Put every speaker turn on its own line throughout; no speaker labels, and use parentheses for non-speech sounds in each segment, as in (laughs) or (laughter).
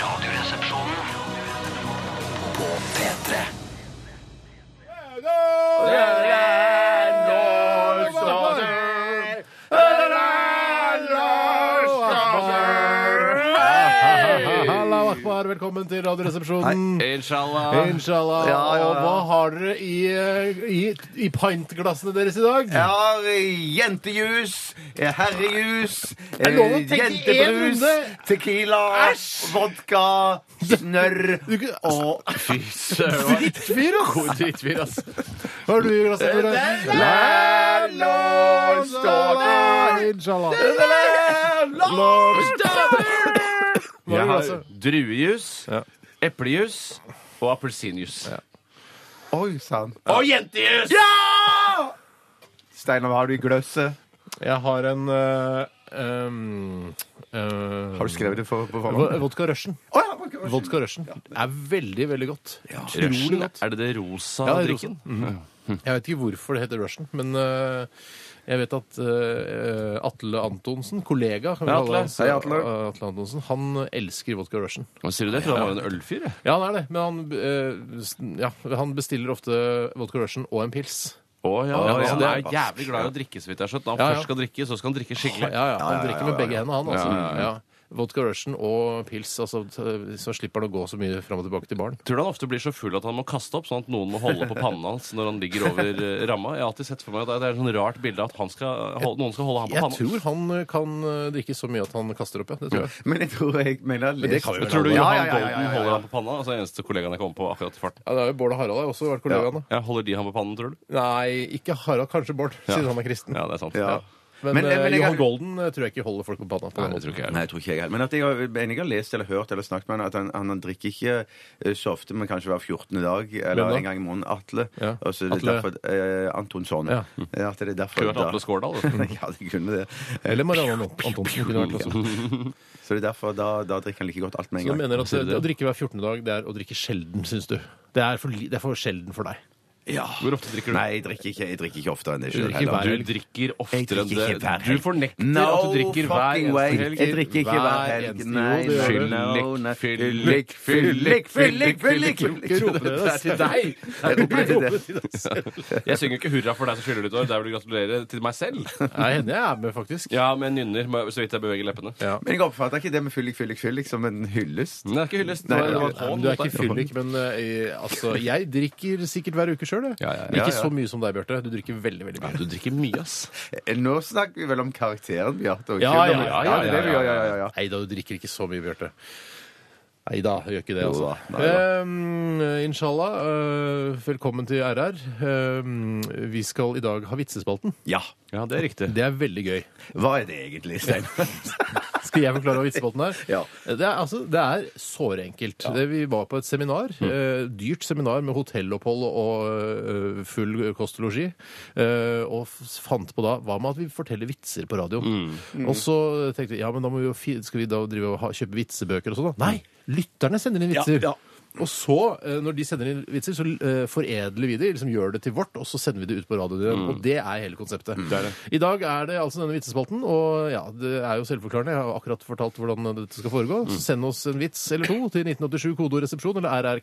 Radioresepsjonen På P3
Hallo, Akbar. Velkommen til Radioresepsjonen.
Inshallah.
Inshallah.
Ja, ja,
Og
ja.
hva har dere i, eh, i, i pintglassene deres i dag?
Jeg har eh, jentejus, eh, herrejus, eh,
er lov å tenke i én
jentebrus,
runde.
tequila, vodka, snørr
Du kan-
og Fy søren.
Fyr, ass!
God drittfyr, ass.
Hva har du i glasset? Tore? Inshallah. Hva har du
Jeg
i
har
glasset?
druejus, eplejus og appelsinjus.
Oi sann.
Og jentejus!
Steinar, hva har du i gløsset?
Jeg har en eh, um, eh,
Har du skrevet det for, på forhånd?
vo- Vodka Russian. Vodka Russian er veldig, veldig godt. Utrolig
Russian,
godt.
er det det rosa
Ja, det er
drikken? Mm.
Jeg vet ikke hvorfor det heter Russian, men eh, jeg vet at eh, Atle Antonsen, kollega kan vi
Hei,
kalle
Atle.
han, så-
Hei, Atle.
eh, Atle Antonsen, han elsker vodka Russian.
Hva sier du det? For han var jo en ølfyr. jeg.
Ja, han er det, men han, eh, s- ja, han bestiller ofte vodka Russian og en pils.
Å, ja,
Ja,
altså,
ja,
det
ja.
er jævlig glad i å drikke, så vidt jeg har skjønt. Når han
Ja, ja.
først skal drikke, så skal han drikke
Ja,
skikkelig.
ja, han drikker med begge hendene, han altså.
Ja, ja, ja.
Ja. Vodka Russian og pils, altså, t- så slipper han å gå så mye fram og tilbake til baren.
Tror du han ofte blir så full at han må kaste opp, sånn at noen må holde på pannen hans når han ligger over eh, ramma? Jeg har alltid sett for meg at det er et sånn rart bilde at han skal, hol- noen skal holde ham på
Jeg
pannen.
tror han eh, kan eh, drikke så mye at han kaster opp, ja. Det tror jeg.
Men jeg tror jeg mener jeg har lest-
det kan vi jo
Tror du
Ja,
Johan
ja, ja, ja, ja,
Golden
ja.
holder ham på panna? Altså, den eneste kollegaen jeg kom på akkurat i farten.
Ja, det er jo Bård og Harald har jo også vært kollegaene.
Ja, holder de ham på pannen, tror du?
Nei, ikke Harald, kanskje Bård, siden han er kristen.
Ja, det er sant.
Ja.
Men,
Men, eh,
eh,
men jeg
Johan
har-
Golden eh, tror jeg ikke holder folk på panna. på
Nei,
den
det
måten.
tror ikke jeg.
Nei, jeg tror ikke jeg heller. Men at jeg har, men jeg har lest eller hørt eller snakket med han at han, han, han drikker ikke eh, så ofte, men kanskje hver 14. dag eller
Hvem da?
en gang i måneden. Atle.
Ja.
Og så er det
Atle.
derfor eh, Antonsson.
Ja.
Ja, At det er derfor
Kunne vært
da-
Atle Skårdal. da.
(laughs) ja, det kunne det.
Eller Marianne Antonsen kunne vært også.
Så det er derfor da, da drikker han like godt alt med
Så du
en gang.
mener at det, å drikke hver 14. dag, det er å drikke sjelden, syns du? Det er for, li- det er for sjelden for deg.
Ja.
Hvor ofte drikker du?
Nei, jeg drikker ikke, jeg drikker ikke oftere enn det.
Du drikker
selv,
hver
Du
helg.
drikker
Jeg
oftere
drikker
enn
ikke hver
det.
helg.
Du fornekter
No
at du drikker hver
fucking way.
eneste helg.
Jeg drikker ikke hver helg.
eneste-
Nei,
Jo, det gjør
nei,
du.
no, nei.
Fyllik,
fyllik, fyllik, fyllik,
Ikke rop
Det er til
det
deg!
Nei, det er ikke det.
Jeg synger ikke hurra for deg som skyller ditt år. Der vil du gratulere til meg selv.
Jeg hender jeg er med, faktisk.
Ja, men jeg nynner må jeg- så vidt jeg beveger leppene.
Ja.
Men jeg oppfatter ikke det med fyllik, fyllik, fyllik som liksom en hyllest.
Men det er ikke hyllest.
Nei,
det var
ja,
et
Nei,
hån
men du er
mot
ikke
deg.
fyllik, men eh, altså, jeg drikker sikkert hver uke sjøl, jeg.
Ja, ja, ja.
Men ikke
Ja, ja.
så mye som deg, Bjarte. Du drikker veldig, veldig mye.
Du drikker mye, ass.
Nå snakker vi vel om karakteren Bjarte. og
Ja,
ikke om-
ja, ja,
ja, det er det vi gjør, ja, ja, ja.
Nei da, du drikker ikke så mye, Bjarte. Nei da, gjør ikke det,
Jo
altså.
da, nei da.
Eh, inshallah, eh, velkommen til RR. Eh, vi skal i dag ha vitsespalten.
Ja.
Ja, det er riktig.
Det er veldig gøy.
Hva er det egentlig, Stein?
Skal jeg forklare hva vitsespalten er?
Ja.
Det er, altså, det er såre enkelt. Det, vi var på et seminar,
Mm.
eh, dyrt seminar med hotellopphold og eh, full kost og losji, eh, og f- fant på da hva med at vi forteller vitser på radio?
Mm.
Og så tenkte vi ja, men da må vi jo fi, skal vi da drive og ha, kjøpe vitsebøker og sånn? da? Nei! Lytterne sender inn vitser.
ja.
Og så, eh, når de sender inn vitser, så eh, foredler vi det, liksom gjør det til vårt, og så sender vi det ut på radioen. igjen.
Mm.
Og det er hele konseptet. I dag er det altså denne vitsespalten, og ja, det er jo selvforklarende. Jeg har akkurat fortalt hvordan dette skal foregå.
Mm.
Så send oss en vits eller to til 1987 kodoresepsjon eller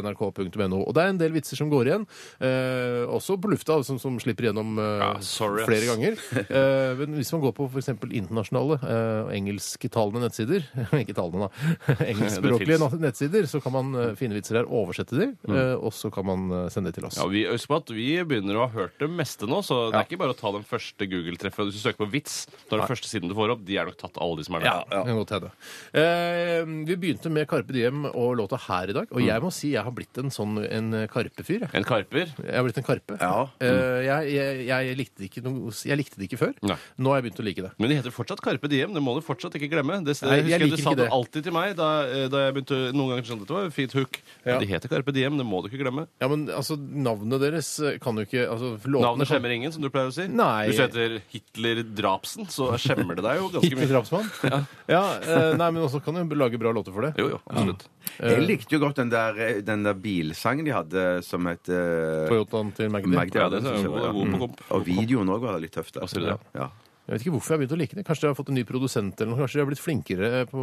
rrkrøllalfa.nrk.no. Og det er en del vitser som går igjen, eh, også på lufta, som, som slipper gjennom eh,
Ja, sorry, ass.
flere ganger.
(laughs)
Eh, men hvis man går på f.eks. internasjonale eh, og engelsktalende nettsider (laughs) Ikke talende, da. Engelskspråklige
finnes.
Altså, nettsider, så kan man eh, finne vitser der, oversette de, eh, og så kan man eh, sende det til oss.
Mm. Ja, vi, husk på at vi begynner å ha hørt det meste nå, så det er ikke bare å ta den første Google-treffet. Hvis du søker på vits, da er den første siden du får opp. De er nok tatt, alle de som er der.
Det kan godt hende. Eh, vi begynte med Karpe Diem og låta her i dag, og
Mm.
jeg må si jeg har blitt en sånn en Karpe-fyr. jeg.
En karper.
Jeg har blitt en Karpe.
(laughs) Ja.
Eh, jeg, jeg, jeg, likte ikke noe, jeg likte det ikke før.
Mm. Nei.
Nå har jeg begynt å like det.
Men de heter fortsatt Carpe Diem. Det må du fortsatt ikke glemme. Det, det
Nei, jeg
husker jeg
liker
Du sa
ikke
det
det.
alltid til meg da, eh, da jeg begynte noen ganger skjønte at det var et fint hook. Men
Ja.
De heter Carpe Diem, det må du ikke glemme.
Ja, men altså, navnet deres eh, kan jo ikke altså, låtene
Navnet
kan-
skjemmer ingen, som du pleier å si.
Nei.
Hvis du heter Hitler Drapsen, så skjemmer det deg jo ganske
(laughs) Hitler
mye.
Drapsmann? Ja. eh, nei, men også kan du lage bra låter for det.
Jo, jo, absolutt.
Jeg likte jo godt den der, den der bilsangen de hadde som het eh,
Toyotaen til Magdi.
Magda.
Ja, det er jo god- god på komp.
Og Mm. videoen òg var litt tøff. der.
Hva sier du det?
Ja.
Jeg vet ikke hvorfor jeg har begynt å like det. Kanskje jeg har fått en ny produsent, eller noe. Kanskje jeg har blitt flinkere på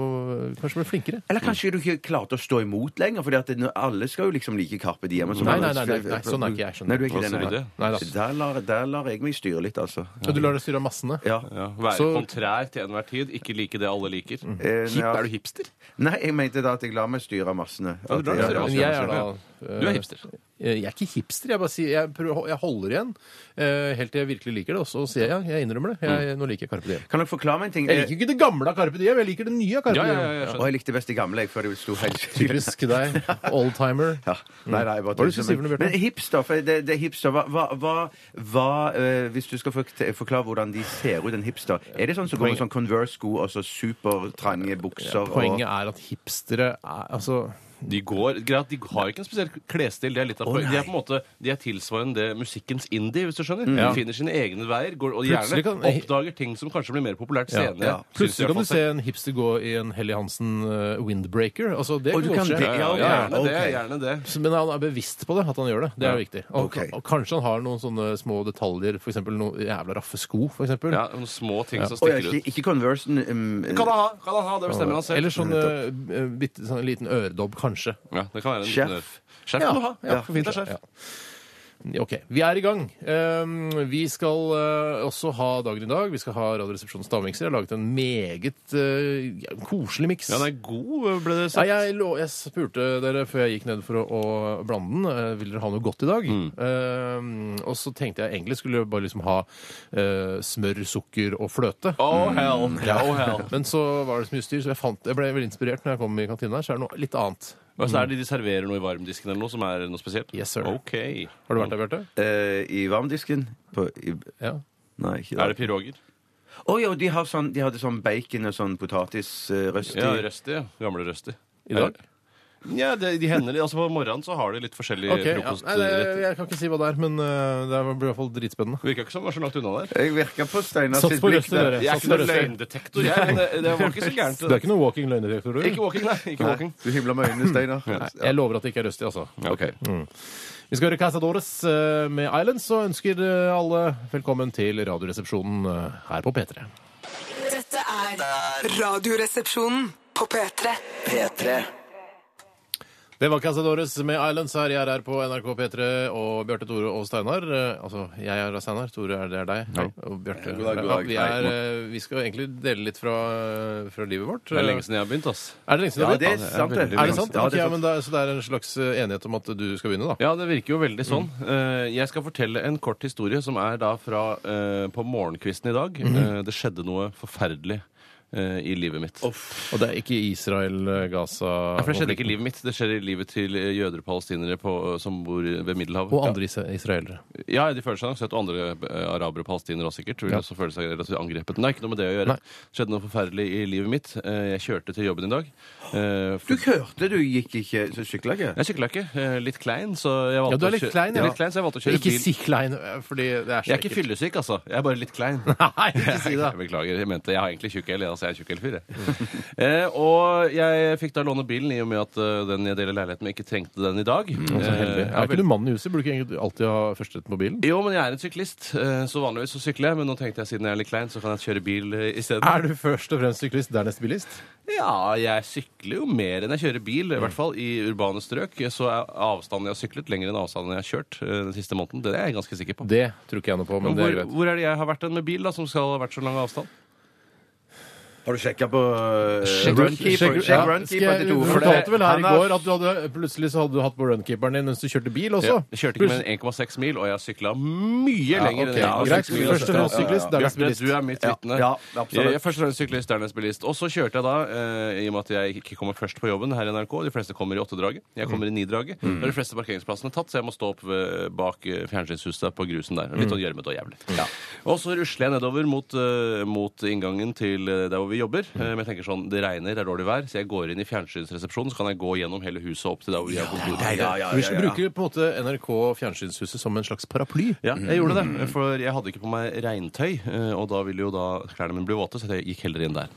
Kanskje jeg ble flinkere?
Eller kanskje du ikke klarte å stå imot lenger? For alle skal jo liksom like Carpe Diem. og så-
Nei, nei, nei, nei, nei, sånn er ikke jeg, skjønner
Nei, du er ikke
Hva
det,
sier
nei.
du det?
Nei da.
Så Der, lar, der lar jeg meg styre litt, altså.
Og du lar deg styre av massene?
Ja.
Ja, være
Så- Mm.
kontrær til enhver tid, ikke like det alle liker.
Eh,
Hip,
ja.
er du hipster?
Eh,
Nei, jeg mente da at jeg lar meg styre av massene.
Ja, du lar deg
At jeg-
styre av
Men jeg er da
Du er hipster.
Eh, Jeg er ikke hipster. Jeg bare sier, jeg, prøver, jeg holder igjen eh, helt til jeg virkelig liker det. Og så sier jeg jeg innrømmer det. Jeg,
Mm.
nå liker jeg Carpe Diem.
Kan dere forklare meg en ting?
Jeg liker ikke det gamle av Carpe Diem, jeg liker det nye av Carpe
Ja, ja,
Diem.
ja, jeg
Eh,
skjønner.
Og jeg likte best de gamle, jeg, før de sto helt stille.
Typisk
(laughs)
deg. Oldtimer.
Ja. Nei, nei, jeg bare
Hva er det du
tuller,
sier for noe,
men-
Bjarte?
Men hipster, for det, det er hipster hva, hva, hva, hva eh, Hvis du skal fork- forklare hvordan de ser ut, en hipster Er det sånn som går med sånn Converse-sko og så supertrange bukser?
Poenget
og,
er at hipstere er Altså
De går, greit, de har ikke en spesiell klesstil. Det er litt av
Å,
poenget. de
nei.
er på en måte, de er tilsvarende det musikkens indie, hvis du skjønner.
Mm. Ja.
De finner sine egne veier går, og
Plutselig
gjerne
kan-
oppdager ting som kanskje blir mer populært
Ja.
senere.
Ja.
synes jeg
Plutselig kan
i
du
hvert fall
se en hipster gå i en Helly Hansen eh, windbreaker. Altså, det
Og du
kan godt
kan
skje.
det, ja, ok.
selv. Ja, gjerne det.
Ok.
gjerne det.
Så- Men han er bevisst på det, at han gjør det. Det er jo viktig. Og,
Ok.
og kanskje han har noen sånne små detaljer, f.eks. noen jævla raffe sko. For eksempel.
Ja, noen små ting som
Å, ja,
stikker
ikke,
ut.
ikke Converse um,
Kan han ha, kan han ha, det bestemmer han selv.
Eller sånn, eh, bitte, sånn liten øredobb, kanskje.
Ja, det kan være en
Sjef.
liten øff. Sjef
Ja,
kan du ha. Ja,
ja,
for fint er sjef.
Ja. OK. Vi er i gang. Um, vi skal eh, også ha Dagen i dag. Vi skal ha Radioresepsjonens stavmikser. Jeg har laget en meget eh, ja, koselig miks.
Ja, den er god, eh, ble det
Ja,
sagt.
jeg, lå, jeg spurte dere før jeg gikk ned for å, å blande den. eh, Vil dere ha noe godt i dag? Eh, og så tenkte jeg egentlig skulle jeg bare liksom ha eh, smør, sukker og fløte.
Oh hell.
(laughs)
Oh hell.
Men så var det så mye styr, så jeg, fant, jeg ble veldig inspirert når jeg kom i kantina. her, Så er det noe litt annet.
Og så er det de serverer noe i varmdisken eller noe som er noe spesielt?
Yes, sir.
Ok.
Har du vært der, Bjarte?
eh, I varmdisken? På, i,
Ja.
nei, ikke
Er det
det.
piroger?
Å ja, de, har sånn, de hadde sånn bacon og sånn potetisrøst
Ja,
i.
røsti. ja. Gamle røsti.
I dag?
Ja, det, de hender det. Altså, på morgenen så har de litt forskjellige
Ok, ja. Nei, det,
frokostretter.
jeg kan ikke si hva det er, men eh, det blir i hvert fall dritspennende.
Virka ikke som det var så langt unna der.
Jeg virka på Steinar
Sats
sitt
på
blikk
røst i
der.
dere.
Jeg er
Sats
ikke
på
noen
røst i dere.
løgndetektor, jeg. Men det, det var ikke så gærent.
Du er ikke noe walking løgndetektor, du?
Ikke walking, nei. Ikke walking.
Du himla med øynene,
(laughs)
Steinar.
Jeg lover at det ikke er røstig, altså.
Ok.
Vi skal høre Casadores eh, med Islands, og ønsker eh, alle velkommen til Radioresepsjonen eh, her på P3.
Dette er Radioresepsjonen på P3.
P3.
Det var Casadores med Islands her. Jeg er her på NRK P3, og Bjarte, Tore og Steinar. eh, Altså, jeg er da Steinar, Tore er det er deg. Hei. Og Bjarte.
God dag, god
Ja,
dag.
Vi,
Hei.
er, eh, vi skal egentlig dele litt fra, eh, fra livet vårt.
Det er lenge siden jeg har begynt, ass.
Er det lenge siden?
Ja,
det
det
har
er
blitt?
sant, det.
er det sant?
Ja,
Ok,
det
ja,
er
men
sant.
da, så det er en slags eh, enighet om at du skal begynne, da?
Ja, det virker jo veldig sånn. Eh, Jeg skal fortelle en kort historie som er da fra eh, på morgenkvisten i dag. Eh, Det skjedde noe forferdelig eh, i livet mitt.
Og det er ikke Israel, eh, Gaza
Ja, For det skjedde ikke i livet mitt, det skjer i livet til eh, jøder og palestinere på, eh, som bor ved Middelhavet.
Og andre isa- israelere.
Ja, de føler seg nok sett, og andre eh, arabere og palestinere også sikkert. Vil
Ja.
også føle seg relativt angrepet. Men det er ikke noe med det å gjøre.
Nei.
Det skjedde noe forferdelig i livet mitt. Eh, Jeg kjørte til jobben i dag. Eh,
Du
for-
hørte du gikk ikke så sykla ikke?
Jeg sykla ikke. Eh, Litt klein, så jeg valgte
Ja, du er
å
litt
kjø-
klein,
Jeg
ja.
er litt klein, så jeg valgte å kjøre
Ikke
bil.
si klein, eh, fordi det er så
jeg er ikke fyllesyk, altså. Jeg er bare litt klein.
(laughs) Nei, ikke si det.
Jeg beklager. Jeg mente jeg har egentlig tjukk el. jeg, Altså, jeg er tjukk el fyr, jeg. eh, og jeg fikk da låne bilen i og med at eh, den jeg deler leilighet med, ikke trengte den i dag.
Så Mm, altså, heldig.
Eh, ja,
Er ikke du mannen i huset? Burde du ikke egentlig alltid ha førsteretten på bilen?
Jo, men jeg er en syklist, eh, så vanligvis så sykler jeg. Men nå tenkte jeg siden jeg er litt klein, så kan jeg kjøre bil eh, isteden.
Er du først og fremst syklist, dernest bilist?
Ja, jeg sykler jo mer enn jeg kjører bil, i hvert fall i urbane strøk. Så er avstanden jeg har syklet, lenger enn avstanden jeg har kjørt eh, den siste måneden. Det er jeg ganske sikker på.
Det tror ikke jeg noe på, men det er
hvor,
greit.
hvor er det jeg har vært den med bil, da, som skal ha vært så lang avstand?
Har du sjekka på eh,
Sjekk-
Runkeeper?
sjekk-
Sjekk
ja,
Runkeeper
skal jeg-
til Tore.
Du
for det-
fortalte vel her
han
i
har-
går at du hadde, plutselig så hadde du hatt på runkeeperen din mens du kjørte bil også.
Jeg kjørte ikke med en 1,6 mil, og jeg har sykla mye
Ja,
lenger
ok.
enn jeg har
Greit.
syklet.
mil,
Først og
ja, ja,
fremst
ja.
syklist, dernest
Bjarte,
bilist.
du er mitt
Ja,
vitne.
ja, absolutt.
jeg er først og fremst syklist, dernest bilist. Og så kjørte jeg da, eh, i og med at jeg ikke kommer først på jobben her i NRK, de fleste kommer i åttedraget, jeg kommer i nidraget, og de fleste parkeringsplassene er tatt, så jeg må stå opp ved, bak eh, fjernsynshuset på grusen der. Litt sånn gjørmete og jævlig. Og så rusler jeg nedover mot, eh, mot inngangen til eh, der hvor hvor vi jobber. eh, Men jeg tenker sånn, det regner, det er dårlig vær, så jeg går inn i fjernsynsresepsjonen, så kan jeg gå gjennom hele huset opp til der hvor vi har kontor.
Ja, ja,
Du
ja, ja, ja.
bruker på en måte NRK Fjernsynshuset som en slags paraply.
Ja, jeg gjorde det, for jeg hadde ikke på meg regntøy, eh, og da ville jo da klærne mine bli våte, så jeg gikk heller inn der.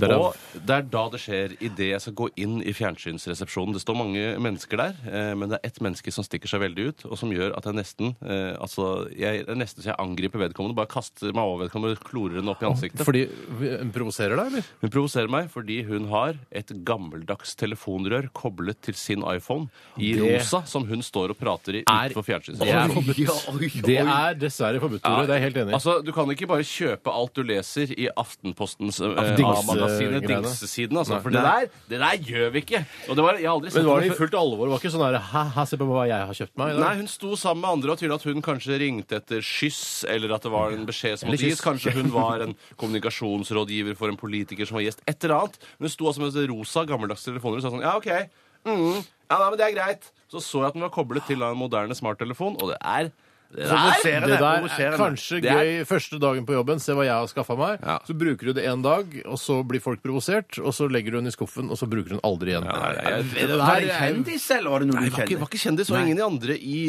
Derav-
Og det er da det skjer, idet jeg skal gå inn i fjernsynsresepsjonen. Det står mange mennesker der, eh, men det er ett menneske som stikker seg veldig ut, og som gjør at jeg nesten eh, altså, jeg, det er nesten så jeg angriper vedkommende, bare kaster meg over vedkommende og klorer henne opp i ansiktet.
Fordi hun provoserer deg, eller?
Hun provoserer meg fordi hun har et gammeldags telefonrør koblet til sin iPhone i
Det-
rosa, som hun står og prater i
Er-
utenfor
Det er
fjernsynsresepsjonen.
forbudt. Altså, Det er dessverre forbudt, Tore. Det er jeg helt enig i.
Altså, Du kan ikke bare kjøpe alt du leser i Aftenpostens eh,
Dingse-
A-magasinet,
eh, greiene.
Dingsesiden. Altså,
Nei.
for det der, det der gjør vi ikke! Og det var, jeg har aldri sett
Men var det
det
i
før.
fullt alvor? Var ikke sånn her Hæ, se på hva jeg har kjøpt meg i dag?
Nei, Hun sto sammen med andre, og tydelig at hun kanskje ringte etter skyss, eller at det var en beskjed som
Eller
måtte gis.
kyss. (laughs)
Kanskje hun var en kommunikasjonsrådgiver for en politiker som var gjest. Et eller annet. Men hun sto altså med et rosa, gammeldags telefoner og sa sånn Ja, OK. Mm, ja, nei, men det er greit. Så så jeg at den var koblet til en moderne smarttelefon, og det er det der,
Provoserende,
Det der er
provoserende.
kanskje
Det er-
gøy første dagen på jobben. Se hva jeg har skaffa meg.
Ja.
Så bruker du det en dag, og så blir folk provosert, og så legger du den i skuffen, og så bruker du den aldri igjen.
nei, nei, jeg-
Var
det der
det en
er jo-
kjendis, eller var det noe du
Nei, det var ikke,
kjenner?
var ikke kjendis, og ingen i andre i,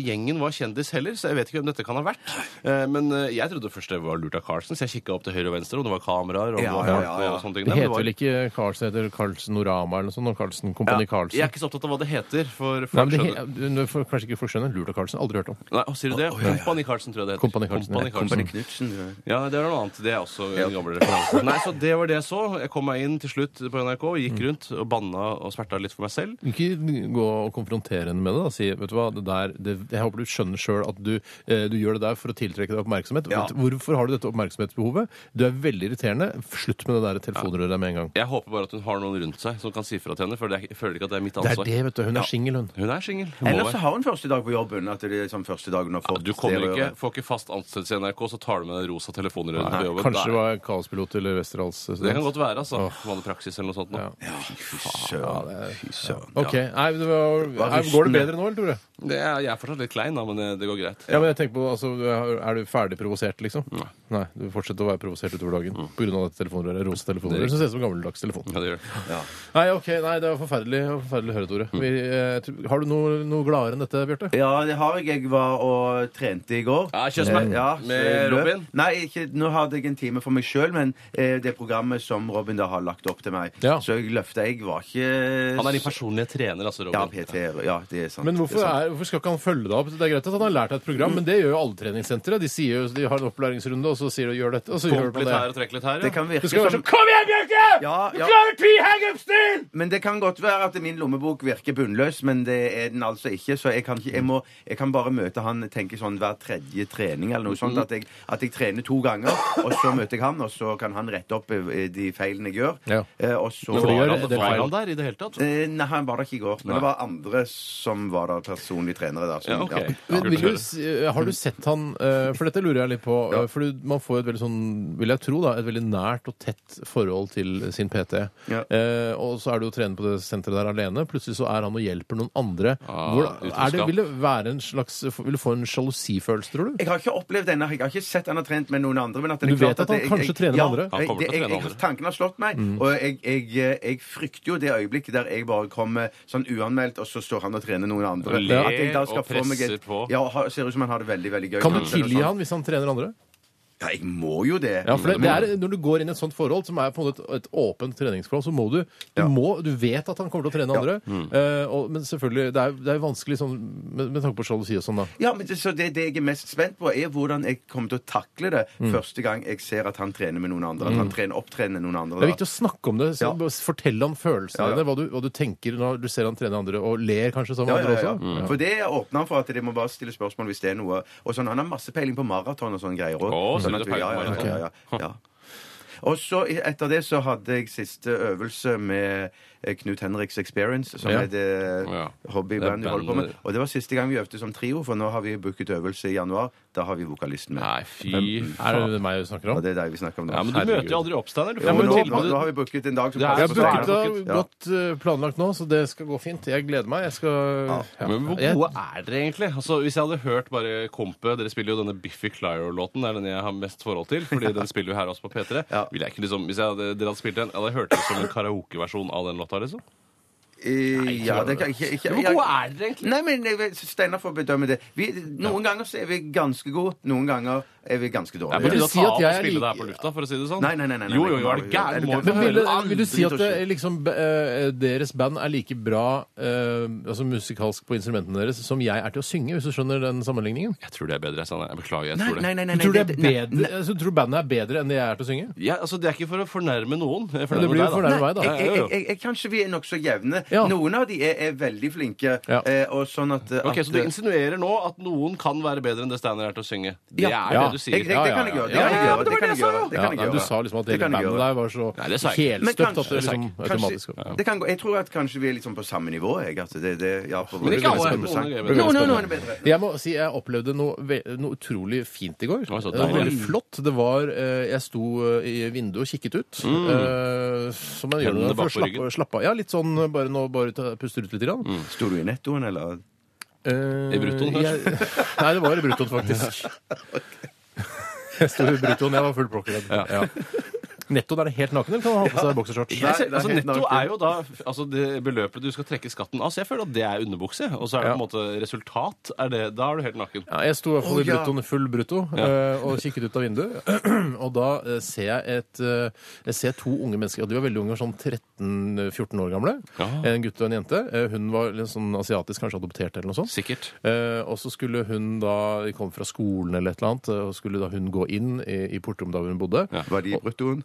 i gjengen var kjendis heller, så jeg vet ikke hvem dette kan ha vært. Eh, men eh, jeg trodde først det var lurt av Carlsen, så jeg kikka opp til høyre og venstre, og det var kameraer og,
Ja,
og,
ja, ja, ja.
og sånne ting.
det
Nei, men
heter
var-
vel ikke Carlsen heter Carlsen Norama eller noe sånt? og Carlsen, Kompani
Jeg er
Carlsen?
ikke så opptatt av hva det heter, for
Nei,
folk
men det
skjønner
he, nå får kanskje ikke folk skjønner. Lurt av Carlsen. Aldri hørt om.
Nei, å, sier du det? Kompani Carlsen, tror jeg det heter.
Kompani Carlsen,
Kompani
ja.
Carlsen.
Knutsen, du.
Ja, det er noe annet. Det er også en gammel referanse. Nei, så det var det jeg så. Jeg kom meg inn til slutt på NRK, gikk rundt og banna og sverta litt for meg selv.
Ikke gå og konfrontere henne med det. Da. Si vet du hva, det der, det, jeg håper du skjønner sjøl at du, eh, du gjør det der for å tiltrekke deg oppmerksomhet.
Ja.
Hvorfor har du dette oppmerksomhetsbehovet? Du er veldig irriterende. Slutt med det der telefonrøret med en gang.
Jeg håper bare at hun har noen rundt seg som kan si fra til henne, for det er- jeg føler ikke at det er mitt
Det er
ansvar.
det, vet du. Hun er singel, hun.
Hun er singel. Hun må
Ellers
være.
så har hun første dag på jobben. At det er sånn første dagen hun har fått
Du kommer
det
ikke,
røret.
får ikke fast ansettelse i NRK, så tar du med deg rosa telefonrøret på jobben.
Kanskje det
Nei.
var kaospilot eller Westerdals.
det kan godt være, altså. Vanlig praksis eller noe sånt. nå.
Søren. Fy søren.
Ok, Nei, det var, nei, Går det bedre nå, eller, Tore?
Det er, jeg er fortsatt litt klein, da, men det, det går greit.
Ja, men jeg tenker på, altså, Er du ferdig provosert, liksom? Nei. Du fortsetter å være provosert utover dagen På pga. dette telefonrøret. Rosa telefonrøret. Som ser ut som en gammeldags telefon.
Ja, det gjør det.
Nei, ok, nei, det var forferdelig, det var forferdelig å høre, Tore. Vi, eh, tr- har du noe, noe gladere enn dette, Bjarte?
Ja, det har jeg. Jeg var og trente i går.
Ja, Kjøsberg.
Eh, ja, så
Med
jeg løp.
Robin?
Nei, ikke, nå hadde jeg en time for meg sjøl, men eh, det programmet som Robin da har lagt opp til meg.
Ja.
Så jeg løfta. Jeg var ikke
Han er din personlige trener, altså,
Ja,
Robin.
PT. Ja, det er sant.
Men hvorfor,
det er sant.
er, hvorfor skal ikke han følge deg opp? Det er greit at han har lært deg et program, men det gjør jo alle treningssentre. De, sier jo, de har en opplæringsrunde, og så sier de 'gjør dette', og så gjør
Pump
man
litt her
det.
og trekk litt her.
Det
Ja.
kan virke
Det skal være
som
sånn 'Kom igjen, Bjarte!
Ja, ja.
Du klarer ti hangups-stil!'
Men det kan godt være at min lommebok virker bunnløs, men det er den altså ikke. Så jeg kan, ikke, jeg må, jeg kan bare møte han tenke sånn hver tredje trening eller noe
Mhm.
sånt. At jeg, at jeg trener to ganger, og så møter jeg han, og så kan han rette opp eh, de feilene jeg gjør.
Ja.
Eh, Og så
Men
For det
var
gjør-
han,
det er
var
feil.
han der i det hele tatt?
Eh, Nei, han var der ikke i går. Men
Nei.
det var andre som var der, personlige trenere der. som-
Ja, ok.
ja.
Men, vil du, si- har
Mm.
du sett han eh, For dette lurer jeg litt på. eh, For du- man får jo et veldig sånn, vil jeg tro, da, et veldig nært og tett forhold til sin PT.
Ja.
Eh, og så er du jo trener på det senteret der alene. Plutselig så er han og hjelper noen andre.
Ah,
Hvordan- er det,
utroskap.
vil, det være en slags, vil du få en sjalusifølelse, tror du?
Jeg har ikke opplevd det ennå. Jeg har ikke sett han har trent med noen andre. Men at det er
Du vet
klart
at han
jeg-
kanskje
jeg-
trener med
ja,
andre? Mm.
Han kommer til
jeg-
å
jeg-
trene med
jeg-
andre.
Tanken har slått meg. Og jeg, jeg, eh, jeg frykter jo det øyeblikket der jeg bare kommer sånn uanmeldt, og så står han og trener noen andre.
Og ler
At jeg da skal
og
få meg et-
presser på.
Ja, ha- ser ut som han har det veldig, veldig gøy.
Kan
med
du
det, eller
tilgi
sånn.
han hvis han trener andre?
Ja, jeg må jo det.
Ja, for det, det er, Når du går inn i et sånt forhold, som er på en måte et, et åpent treningsforhold, så må du du,
Ja. Mm.
må, du vet at han kommer til å trene andre. eh, og, men selvfølgelig, det er, det er vanskelig sånn, med, med tanke på sjalusi og sånn, da.
Ja, men det, så det, det jeg er mest spent på, er hvordan jeg kommer til å takle det
Mm.
første gang jeg ser at han trener med noen andre. At han trener, opptrener noen andre.
Det er
da.
viktig å snakke om det. Så
Ja.
bare Fortell om følelsene
Ja, ja.
dine, hva du, hva du tenker når du ser han trene andre, og ler kanskje sammen
Ja,
med
ja, ja. Mm.
andre også. Mm.
For det åpner han for at de må bare stille spørsmål hvis det er noe. Og sånn, Han har masse peiling på maraton og sånne greier òg.
Å,
sånn
så du
at vi- ja,
peiling
ja,
på
ja, ja, ja, ja. Og så i- Etter det så hadde jeg siste øvelse med eh, Knut Henriks Experience, som
Ja.
er det
Ja.
hobbybandet vi
Det er
holder på med.
bandet.
Og det var siste gang vi øvde som trio, for nå har vi booket øvelse i januar. Da har vi vokalisten med.
Nei, fy
Er
faen.
det meg du snakker
Og
om?
det er deg vi snakker om nå.
Ja, men du
Herregud.
møter jo aldri opp, Steinar. Du
Jo, men
får
nå,
jo
nå,
tilbud.
nå har vi booket en dag som
Det er
passer
Jeg
så
for
har
booket,
Steinar.
booket og
booket.
Ja.
godt eh, planlagt nå, så det skal gå fint. Jeg gleder meg. Jeg skal ja.
Men hvor
Jeg-
gode er dere egentlig? Altså, Hvis jeg hadde hørt bare Kompe Dere spiller jo denne Biffy Clyro-låten. Det er den jeg har mest forhold til, fordi den spiller jo her også på P3. Vil jeg ikke liksom, hvis jeg hadde, dere hadde spilt den, hadde jeg hørt det som en karaokeversjon av den låta? liksom
Eh, ja, det kan jeg ikke, ikke jeg-
er dere egentlig?
Nei, men jeg vet- Steinar får bedømme det. Vi, noen ganger så er vi ganske gode, noen ganger er vi ganske
Det er
Vil
på
du
dårlige.
tide å
si
ta
at
av
jeg
og
er
spille det
like-
her på lufta, for å si det sånn.
Nei, nei, nei, nei, nei.
jo, jo, jo, er det
Er
gæren?
det
Må
gæren?
jo
Men vil,
høre.
vil du si at
Aldri til å
eh, liksom, b- eh, deres band er like bra eh, altså musikalsk på instrumentene deres som jeg er til å synge, hvis du skjønner den sammenligningen?
Jeg tror det er bedre. Sanne. Jeg beklager. jeg
Nei,
tror det.
nei, nei, nei,
Du tror, det
det-
er
nei,
bedre, altså, tror bandet er bedre enn det jeg er til å synge?
Ja, altså, det er ikke for å fornærme noen.
Men
Jeg
det
fornærmer
blir jo
deg, da.
fornærmet
Jeg,
meg, da.
Nei.
jeg, jeg, jeg, jeg, kanskje vi er nokså jevne.
Ja.
Noen av de er, er veldig flinke.
Ja.
eh, Og sånn at, at
Ok, Så du insinuerer nå at noen kan være bedre enn det Steinar er til å synge?
Ja.
Det
Ja.
er det
jeg, jeg,
du sier.
Det kan jeg gjøre. Det kan jeg
Ja,
gjøre.
men
Det kan jeg gjøre. Det
Ja,
kan jeg
nei,
gjøre.
du sa liksom at
Det
hele
kan jeg
bandet
gjøre.
der var så
Nei, det sa jeg ikke.
Men
helstøpt at
kanskje-
det liksom automatisk
Kanskje, det kan gå. Jeg tror at kanskje vi er liksom på samme nivå. Jeg, at det, det, ja, på
Men ikke alle.
Noen
Noen er
er
bedre.
noen- noen er bedre.
Jeg må si jeg opplevde noe, ve- noe utrolig fint i går. Det
var
var,
så deilig.
veldig flott. Det var, eh, jeg sto eh, i vinduet og kikket ut. eh, som man gjør
Hendene
når man
bak
får
på ryggen.
slappe, slappe av. Ja, litt sånn eh, bare nå bare ta, puster ut litt. Grann.
Sto du i nettoen, eller?
Eh,
I bruttoen, kanskje?
Jeg, nei, det var i bruttoen, faktisk.
(laughs)
Jeg sto i bruttoen. Jeg var full påkledd.
Ja.
Nettoen er det helt naken, eller kan man ha på seg boksershorts?
Jeg ser-
Nei, det er
altså,
helt
netto
naken.
er jo da altså, det beløpet du skal trekke skatten av. Så jeg føler at det er underbukse. Og så er det
Ja.
på en måte resultat. Er det, da er du helt naken.
Ja, jeg sto i hvert fall
Å,
i
ja.
bruttoen, full brutto, eh, og kikket ut av vinduet. (clears throat) og da eh, ser jeg, et, eh, jeg ser to unge mennesker, og de var veldig unge, sånn 13-14 år gamle.
Ja.
En gutt og en jente. Eh, hun var litt sånn asiatisk, kanskje adoptert eller noe sånt.
Sikkert.
Eh, og så skulle hun da De kom fra skolen eller et eller annet, eh, og skulle da hun gå inn i, i portrommet der hun bodde.
Var de i bruttoen?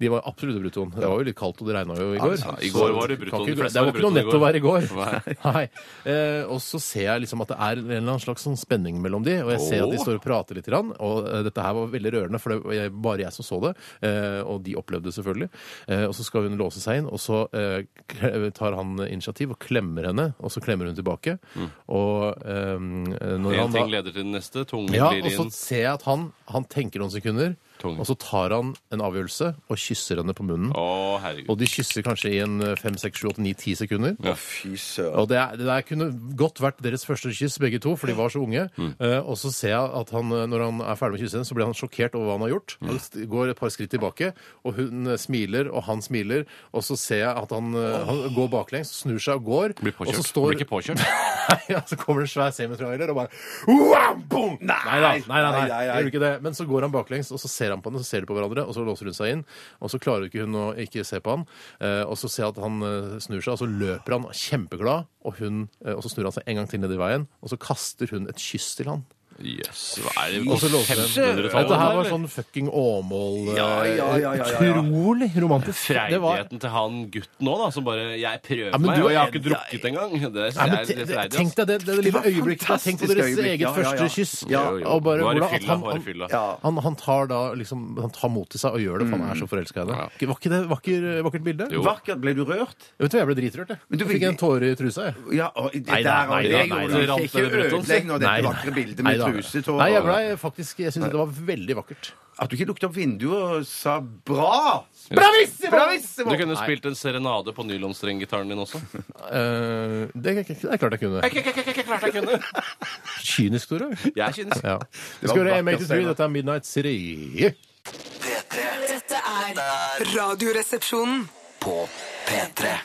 De var absolutt i bruttoen. Det var jo litt kaldt, og det regna jo i går.
sant. I går var det
Så
bruttoen.
kan
De
Ikke,
fleste
det var
var i
ikke noe
bruttoen i
netto å være i går. (laughs)
går.
Nei. Eh, og så ser jeg liksom at det er en eller annen slags sånn spenning mellom de, og jeg ser at de
Åh.
står og prater litt. Grann, og eh, dette her var veldig rørende, for det var jeg- bare jeg som så det. Eh, og de opplevde det selvfølgelig. Eh, og så skal hun låse seg inn, og så eh, k- tar han initiativ og klemmer henne, og så klemmer hun tilbake. Og eh, når
Én
han
Mm. ting
da
leder til den neste. Tungen
ja,
blir
og så
inn.
ser jeg at han, han tenker noen sekunder,
Tung.
og så tar han en avgjørelse og kysser henne på munnen.
Å, herregud.
Og de kysser kanskje i en eh, 5, 6, 7, 8, 9, 10 sekunder.
Ja.
Fy søren.
Og det, er- det der kunne godt vært deres første kyss, begge to, for de var så unge.
Mm.
Eh, og så ser jeg at han, eh, når han er ferdig med kyssingen, så blir han sjokkert over hva han har gjort.
Mm.
Han st- går et par skritt tilbake, og hun eh, smiler, og han smiler. Og så ser jeg at han, eh, han går baklengs, snur seg og går.
Blir
og så
påkjørt.
står
Blir ikke påkjørt.
Nei, (laughs) ja, så kommer det en svær semitrailer og bare Wham! Boom! Nei, da, nei, nei, nei,
Nei, nei, nei.
gjør du ikke det. Men så går han baklengs, og så ser han på henne, så ser de på hverandre, og så låser hun seg inn. Og så klarer ikke hun å ikke se på han. Eh, og så ser jeg at han eh, snur seg, og så løper han kjempeglad, og, hun, eh, og så snur han seg en gang til ned i veien, og så kaster hun et kyss til han.
Yes, hva er det
(laughs) Og så låser hun. Dette her var sånn fucking Åmål eh,
Ja, ja, ja, ja, ja, ja.
Utrolig romantisk. Det var-
Freidigheten til han gutten òg, da, som bare 'Jeg prøver
Ja, men
meg',
du
og jeg har
er-
ikke drukket engang. Det
Nei,
synes
men
jeg er
te-
litt freidig.
Tenk
ass.
deg det, det lille
var
øyeblikket. da. Tenk på deres
fantastisk øyeblikk.
eget
Ja, ja, ja.
første kyss.
Ja,
Jo, jo.
Og bare,
Nå er det
hvordan, at
fylla,
han,
nå er det
han-
fylla.
Ja.
han, han tar da liksom, han tar mot til seg og gjør det, for han er så forelska i henne. Var ikke det vakker, eh, vakkert bilde?
Jo.
Vakkert. Ble du rørt?
Vet du, hva, Jeg ble dritrørt. Jeg,
Men du
jeg fikk
vil-
en tåre i trusa. jeg.
Ja, og,
Nei,
der,
nei, nei,
det
nei,
gjorde
nei,
du
nei.
ikke. Ikke ødelegg nå dette vakre bildet med
da.
trusetår.
Nei, jeg ble faktisk Jeg syns det var veldig vakkert.
At du ikke lukket opp vinduet og sa 'bra'!
Bravissimo!
Bravissimo!
Du kunne spilt en serenade på nylonstrenggitaren din også.
Eh, det, det er klart jeg kunne. Kynisk,
(laughs)
Tore.
Jeg er kynisk.
Ja. Vi
var
skal
vakkert,
høre Make It Three.
Steinar.
Dette er Midnight City.
P3
Dette er Radioresepsjonen.
på P3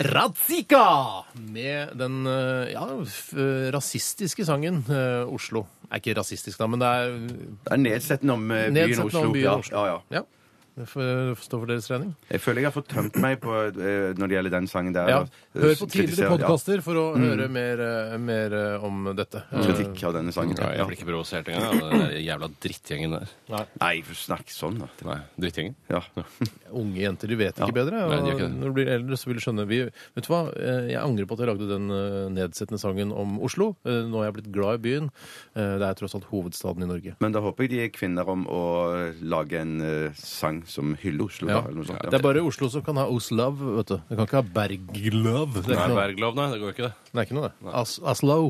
Razika! Med den eh, ja, f- rasistiske sangen eh, Oslo. Er ikke rasistisk, da, men det er
Det er nedsettende om eh, byen
nedsettende
Oslo.
om byen
ja.
Oslo.
Ja, ja.
Ja. Det får stå for deres regning.
Jeg føler jeg har fått tømt meg på, eh, når det gjelder den sangen der.
Ja.
og, eh,
Hør på
kritisere-
tidligere podkaster for å høre mer, eh, mer eh, om dette.
Ja, kritikk av denne sangen.
Jeg blir ikke provosert engang. av Den der jævla drittgjengen der.
Nei, for snakk sånn, da.
Nei, drittgjengen?
Ja.
Eh, Unge jenter de vet ikke bedre.
Nei, de gjør
Og
ikke det.
når du blir eldre, så vil du skjønne vi, Vet du hva, Eh, jeg angrer på at jeg lagde den eh, nedsettende sangen om Oslo. Eh, Nå er jeg blitt glad i byen. Eh, Det er tross alt hovedstaden i Norge.
Men da håper jeg de er kvinner om å lage en eh, sang som hyller Oslo,
Ja.
da. Eller noe sånt.
Det er bare Oslo som kan ha Oslav, vet du. Det kan ikke ha Berglov. Det er
Nei,
ikke noe,
Berglov, nei. Det går ikke, det.
det. Er ikke noe, det. As Aslav.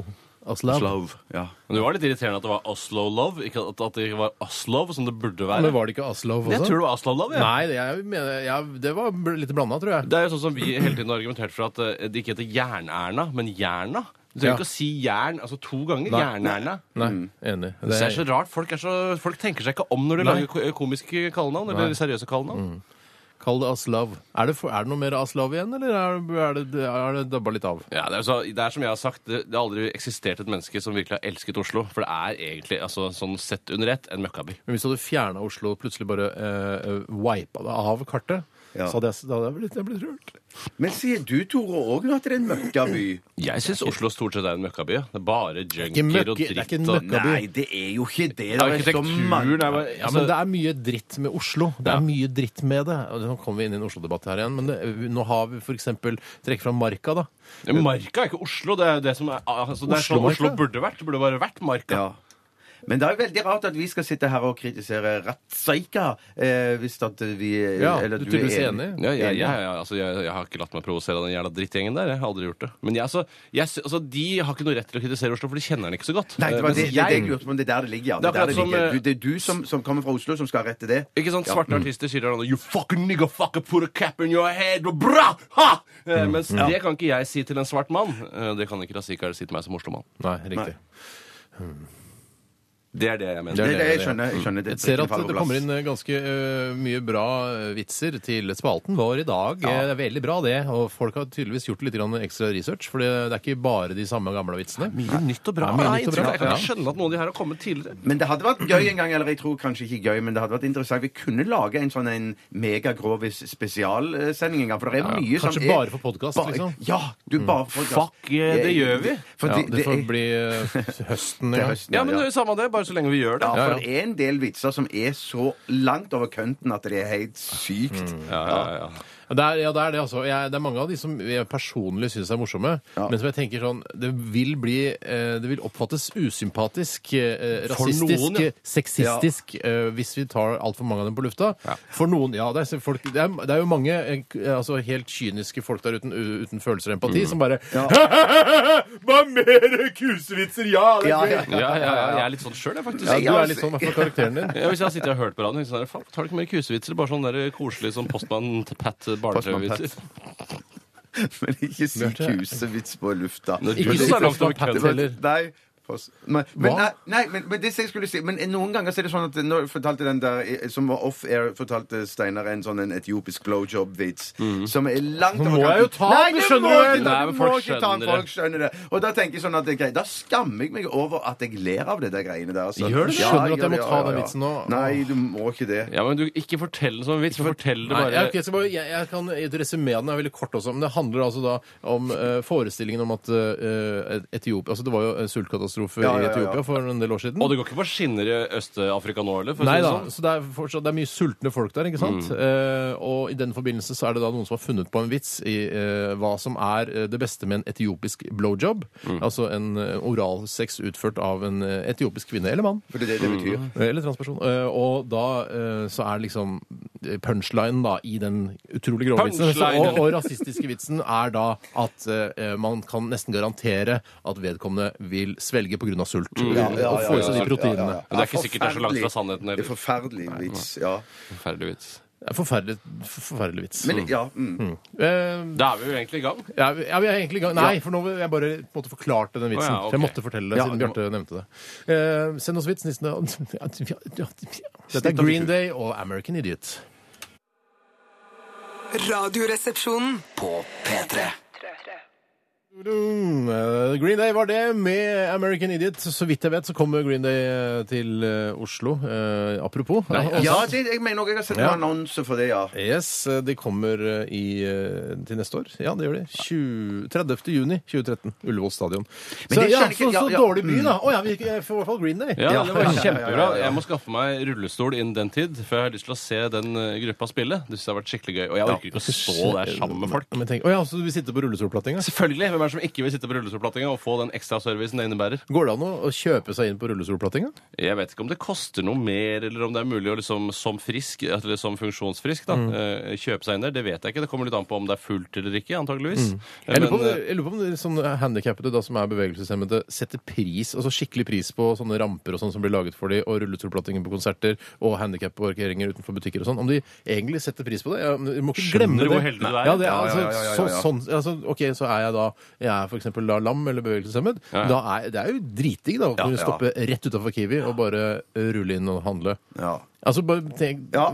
Aslav.
Slav. Ja.
Men det var litt irriterende at det var Oslo Love, ikke at at det ikke var Aslov, som det burde være.
Men var det ikke Aslav også?
Jeg tror det var Oslo Love, jeg.
Nei, det, jeg mener, jeg, det var bl- litt blanda, tror jeg.
Det er jo sånn som vi hele tiden har argumentert for at eh, det ikke heter Jern-Erna, men Jerna. Du trenger ikke å si jern altså to ganger.
Nei.
Jernerna.
Nei, enig. Mm. Det
Det er
er,
så rart. Folk, er så, folk tenker seg ikke om når de
Nei.
lager ko- eh, komiske kallenavn. Eller seriøse kallenavn.
kall det Aslav. Er det, for- er det noe mer Aslav igjen, eller er det, er det, er det dabba litt av?
Ja, det, er så, det er som jeg har sagt, det, det har aldri eksistert et menneske som virkelig har elsket Oslo. For det er egentlig, altså, sånn sett under ett, en møkkaby.
Men hvis du hadde fjerna Oslo og plutselig bare eh, eh, wipet det av kartet,
Ja.
så hadde jeg, da hadde jeg blitt, jeg blitt rørt.
Men sier du, Tore, òg nå at det er en møkkaby?
Jeg syns Oslo stort sett er en møkkaby. ja. Det er bare
Ikke
junkier
møkke,
og
det er ikke
dritt.
en
og-
møkkaby.
Nei, det er jo ikke det. Det er så mange
Arkitekturen er bare-
Ja,
altså,
men det er mye dritt med Oslo. Det
Ja.
er mye dritt med det. Og Nå kommer vi inn i en Oslo-debatt her igjen, men det, nå har vi f.eks. trekk fra Marka, da.
men Marka er ikke Oslo. Det er det som er, altså, det er sånn
Oslo-marka?
Oslo burde vært. Det burde bare vært Marka.
Ja. Men det er jo veldig rart at vi skal sitte her og kritisere Ratsaika, eh, hvis at vi
Ja,
eller at
du er
vi
tydeligvis
er
enig?
Ja, jeg,
Enig.
jeg, jeg, altså, jeg, jeg har ikke latt meg provosere av den jævla drittgjengen der. Jeg har aldri gjort det. Men jeg, altså, jeg, sy- altså, de har ikke noe rett til å kritisere Oslo, for de kjenner den ikke så godt.
Nei, det
Eh,
var
mens
det, det, er det jeg lurte på, men det er der det ligger, ja. Det
Det er
er, der det
akkurat som,
ligger.
eh,
Du, det er du som, som kommer fra Oslo, som skal ha rett til det.
Ikke sant? Svarte
Mm.
artister sier hverandre You fucking nigga fucker, put a cap in your head og bra! Ha! Eh,
Mm.
Mens det kan ikke jeg si til en svart mann. Eh, Det kan ikke Razikar si til meg som oslomann.
Nei, riktig.
Det er det jeg mener.
Det,
er
det,
det,
jeg
ja.
skjønner. Jeg skjønner det,
Jeg ser at det kommer inn eh, ganske eh, mye bra eh, vitser til spalten vår i dag. Eh, Det er veldig bra, det. Og folk har tydeligvis gjort litt grann ekstra research, for det det er ikke bare de samme gamle vitsene.
Mye nytt og bra.
Ja, mye
Jeg har
nytt og
inntrykk
bra,
av- Jeg kan ikke
ja.
skjønne at noen av de her har kommet tidligere.
Men det hadde vært gøy en gang, eller jeg tror kanskje ikke gøy, men det hadde vært interessant. Vi kunne lage en sånn en megagrovis spesialsending eh, en gang, for det er mye som
Kanskje
er-
bare for podcast,
Bare-
liksom?
Ja, du bare for podcast.
Fuck, eh, det gjør vi.
For
Ja,
det-
det får
det er-
bli eh, høsten en
det er
gang.
høsten,
Ja, men det er jo samme det, bare så lenge vi gjør det.
Ja,
Ja,
for
ja.
det er en del vitser som er så langt over kønten at det er helt sykt.
Ja, ja, ja.
Ja, Det er, ja, det er det, altså. Jeg, det er mange av de som jeg personlig syns er morsomme, men som jeg tenker sånn Det vil bli eh, Det vil oppfattes usympatisk, eh,
For
rasistisk,
noen, ja.
sexistisk, eh, hvis vi tar altfor mange av dem på lufta. For noen, ja. Det er, så- folk, det er, det er jo mange eh, k- altså, helt kyniske folk der uten, u- uten følelser og empati som bare (laughs) Hva mer kusevitser? Ja! Det
Ja,
er
ja.
gøy!
Ja, ja, ja, jeg er litt sånn sjøl, jeg, faktisk.
Ja, du er litt sånn, i hvert fall karakteren din.
Ja, hvis jeg har sittet og hørt på radioen, så er det faen, tar du ikke mer kusevitser? Bare sånn der koselig sånn postmann til Pat eh, barne-TV-vitser.
(laughs) Men ikke si kusevits på lufta.
Når du
Men
Ikke
det-
så
sitter
langt
og
over
kødder.
Pat heller.
Nei. pass. Men, men,
Hva?
nei, nei men, men det som jeg skulle si Men noen ganger så er det sånn at Når jeg fortalte den der eh, Som var off-air, fortalte Steinar en sånn en etiopisk blowjob-vits som er langt
Nå Mm. må jeg jo ta
Nei,
den,
du
skjønner
må
du?
ikke ta den,
Nei,
du
men
må
folk
ikke ta den,
skjønner
folk skjønner det. Og da tenker jeg sånn at det er greit. Da skammer jeg meg over at jeg ler av det der greiene der. altså.
Gjør du det?
Ja,
Skjønner du at jeg
gjør
må
det,
ta den vitsen nå?
Nei, du må ikke det.
Ja, men du, ikke fortell det som en vits, fortell det
Nei,
bare
jeg, ok, så bare, jeg, jeg kan resumé den er veldig kort også, men det handler altså da om eh, forestillingen om at eh, Etiopia Altså, det var jo en sultkatastrofe
Ja, ja, ja,
i
ja.
Etiopia for en del år siden.
Og det går ikke på skinner i Øst-Afrika nå, eller? For å
Nei
si
da,
det sånn. Mm.
så det er, fortsatt, det er mye sultne folk der, ikke sant? Eh, og i den forbindelse så er det da noen som har funnet på en vits i eh, hva som er eh, det beste med en etiopisk blowjob.
Mm.
Altså en eh, oralsex utført av en eh, etiopisk kvinne eller mann.
For det er det det betyr.
Eller transperson. Eh, Og da eh, så er liksom punchlinen da i den utrolig grove vitsen. (laughs) Så,
Punchline.
og, og rasistiske vitsen er da at eh, man kan nesten garantere at vedkommende vil svelge pga. sult.
Mm. Ja, ja,
og få i
ja,
seg
ja,
de proteinene.
ja, ja.
Men det er ikke sikkert det er så langt fra sannheten
Det er
heller.
forferdelig vits, ja.
Forferdelig vits.
Det er Forferdelig, forferdelig vits.
Men ja, mm.
Eh,
Da er vi jo egentlig i gang.
ja, vi- ja, vi er egentlig i gang. Nei, for nå vil jeg bare på en måte forklarte den vitsen.
Å, ja, ok.
For jeg måtte fortelle det,
Ja,
siden
det må-
Bjarte nevnte det. Eh, send oss vits, nissene. (laughs) Dette er
Snitt av
Green
kultur.
Day og American Idiot.
Radioresepsjonen.
På P3.
Mm, eh, Green Day var det med American Idiot. Så vidt jeg vet, så kommer Green Day eh, til eh, Oslo. Eh, apropos. Ja,
ja
altså-
det, jeg mener også jeg har sett
Ja.
noen annonser for det, ja.
Yes, eh, de kommer eh, i, eh, til neste år. Ja, det gjør de. 20, 30. juni 2013. Ullevål stadion. Så,
det
ja,
skjønner
så,
ikke-
så
ja, ja,
dårlig by, da. Å ja, vi eh, får i hvert fall Green Day.
Mm. Ja, det
Ja,
var
ja, ja, ja,
kjempebra.
ja.
Jeg må skaffe meg rullestol innen den tid, for jeg har lyst til å se den eh, gruppa spille. Det synes jeg har vært skikkelig gøy. Og jeg orker ikke å stå der sammen med folk.
Men tenk, å ja, så du vil sitte på rullestolplattinga?
Selvfølgelig! Hvem er det som ikke vil sitte på rullestolplattinga og få den ekstra servicen det innebærer?
Går det an å å kjøpe seg inn på rullestolplattinga?
Jeg vet ikke om det koster noe mer, eller om det er mulig å liksom, som frisk, eller som funksjonsfrisk, da,
Mm.
eh, kjøpe seg inn der. Det vet jeg ikke. Det kommer litt an på om det er fullt eller ikke,
Mm.
antageligvis. Eh,
Jeg lurer på om,
men, eh,
jeg lurer på om det er sånn handikappede da, som er bevegelseshemmede, setter pris, altså skikkelig pris på sånne ramper og sånn som blir laget for dem, og rullestolplattinger på konserter og handikapparkeringer utenfor butikker og sånn. Om de egentlig setter pris på det? Jeg, jeg må ikke
Skjønner
glemme
du
det.
hvor heldig du er?
Ja, det er
Ja, ja,
altså,
ja, ja, ja,
Så,
ja.
sånn, altså, OK, så er jeg da jeg er f.eks. lam eller bevegelseshemmet,
Ja, ja.
da er det er jo dritdigg da, å kunne
ja.
stoppe rett utafor Kiwi og bare eh, rulle inn og handle.
Ja.
Altså, bare tenk,
Ja.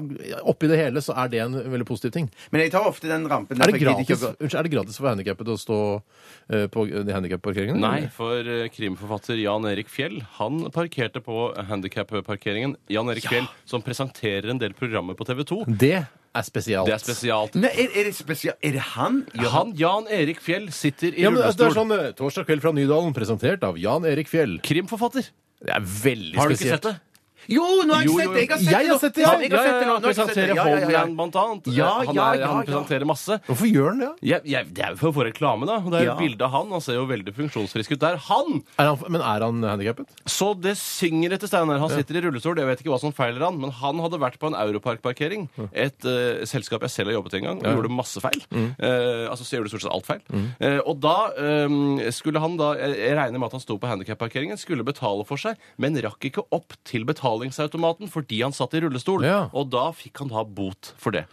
Oppi det hele så er det en veldig positiv ting.
Men jeg tar ofte den rampen. der,
Er det,
for jeg gidder ikke å
gratis, unnskyld, er det gratis for handikappede å stå eh, på de handikapparkeringene?
Nei, for eh, krimforfatter Jan Erik Fjell Han parkerte på handikapparkeringen. Jan Erik Fjell som presenterer en del programmer på TV 2.
Det er spesielt.
Det er spesialt.
gå- Nei, er, er det spesial... Er det han? Ja.
Han Jan Erik Fjell sitter i
Ja, men det
rullestol.
er sånn eh, Torsdag kveld fra Nydalen, presentert av Jan Erik Fjell.
Krimforfatter.
Det er veldig
Har du ikke sett det?
Jo, nå har jeg
Jo,
sett
jo,
det! Jeg har sett det!
jeg har sett
Ja, jeg
det, ja.
har sett det nå,
han
nå har jeg sett det.
presenterer
Ja, ja, ja, ja.
Homeland, blant annet.
Ja,
han,
ja,
er,
ja,
han
ja.
presenterer masse.
Hvorfor gjør han det?
Ja, ja, det er jo for å få reklame, da. Og Det er
Ja.
et bilde av han. Han ser jo veldig funksjonsfrisk ut. Det er han!
Er han, men er han handikappet?
Så det synger etter Steinar. Han sitter i rullestol. Jeg vet ikke hva som feiler han, men han hadde vært på en Europark-parkering. Et eh, selskap jeg selv har jobbet i en gang, og gjorde masse feil.
Mm.
Eh, altså, så gjør du stort sett alt feil. Eh, og da eh, skulle han da Jeg jeg regner med at han sto på handikapparkeringen, skulle betale for seg, men rakk ikke opp til betalingsautomaten fordi han satt i rullestol.
Ja.
Og da fikk han da bot for det.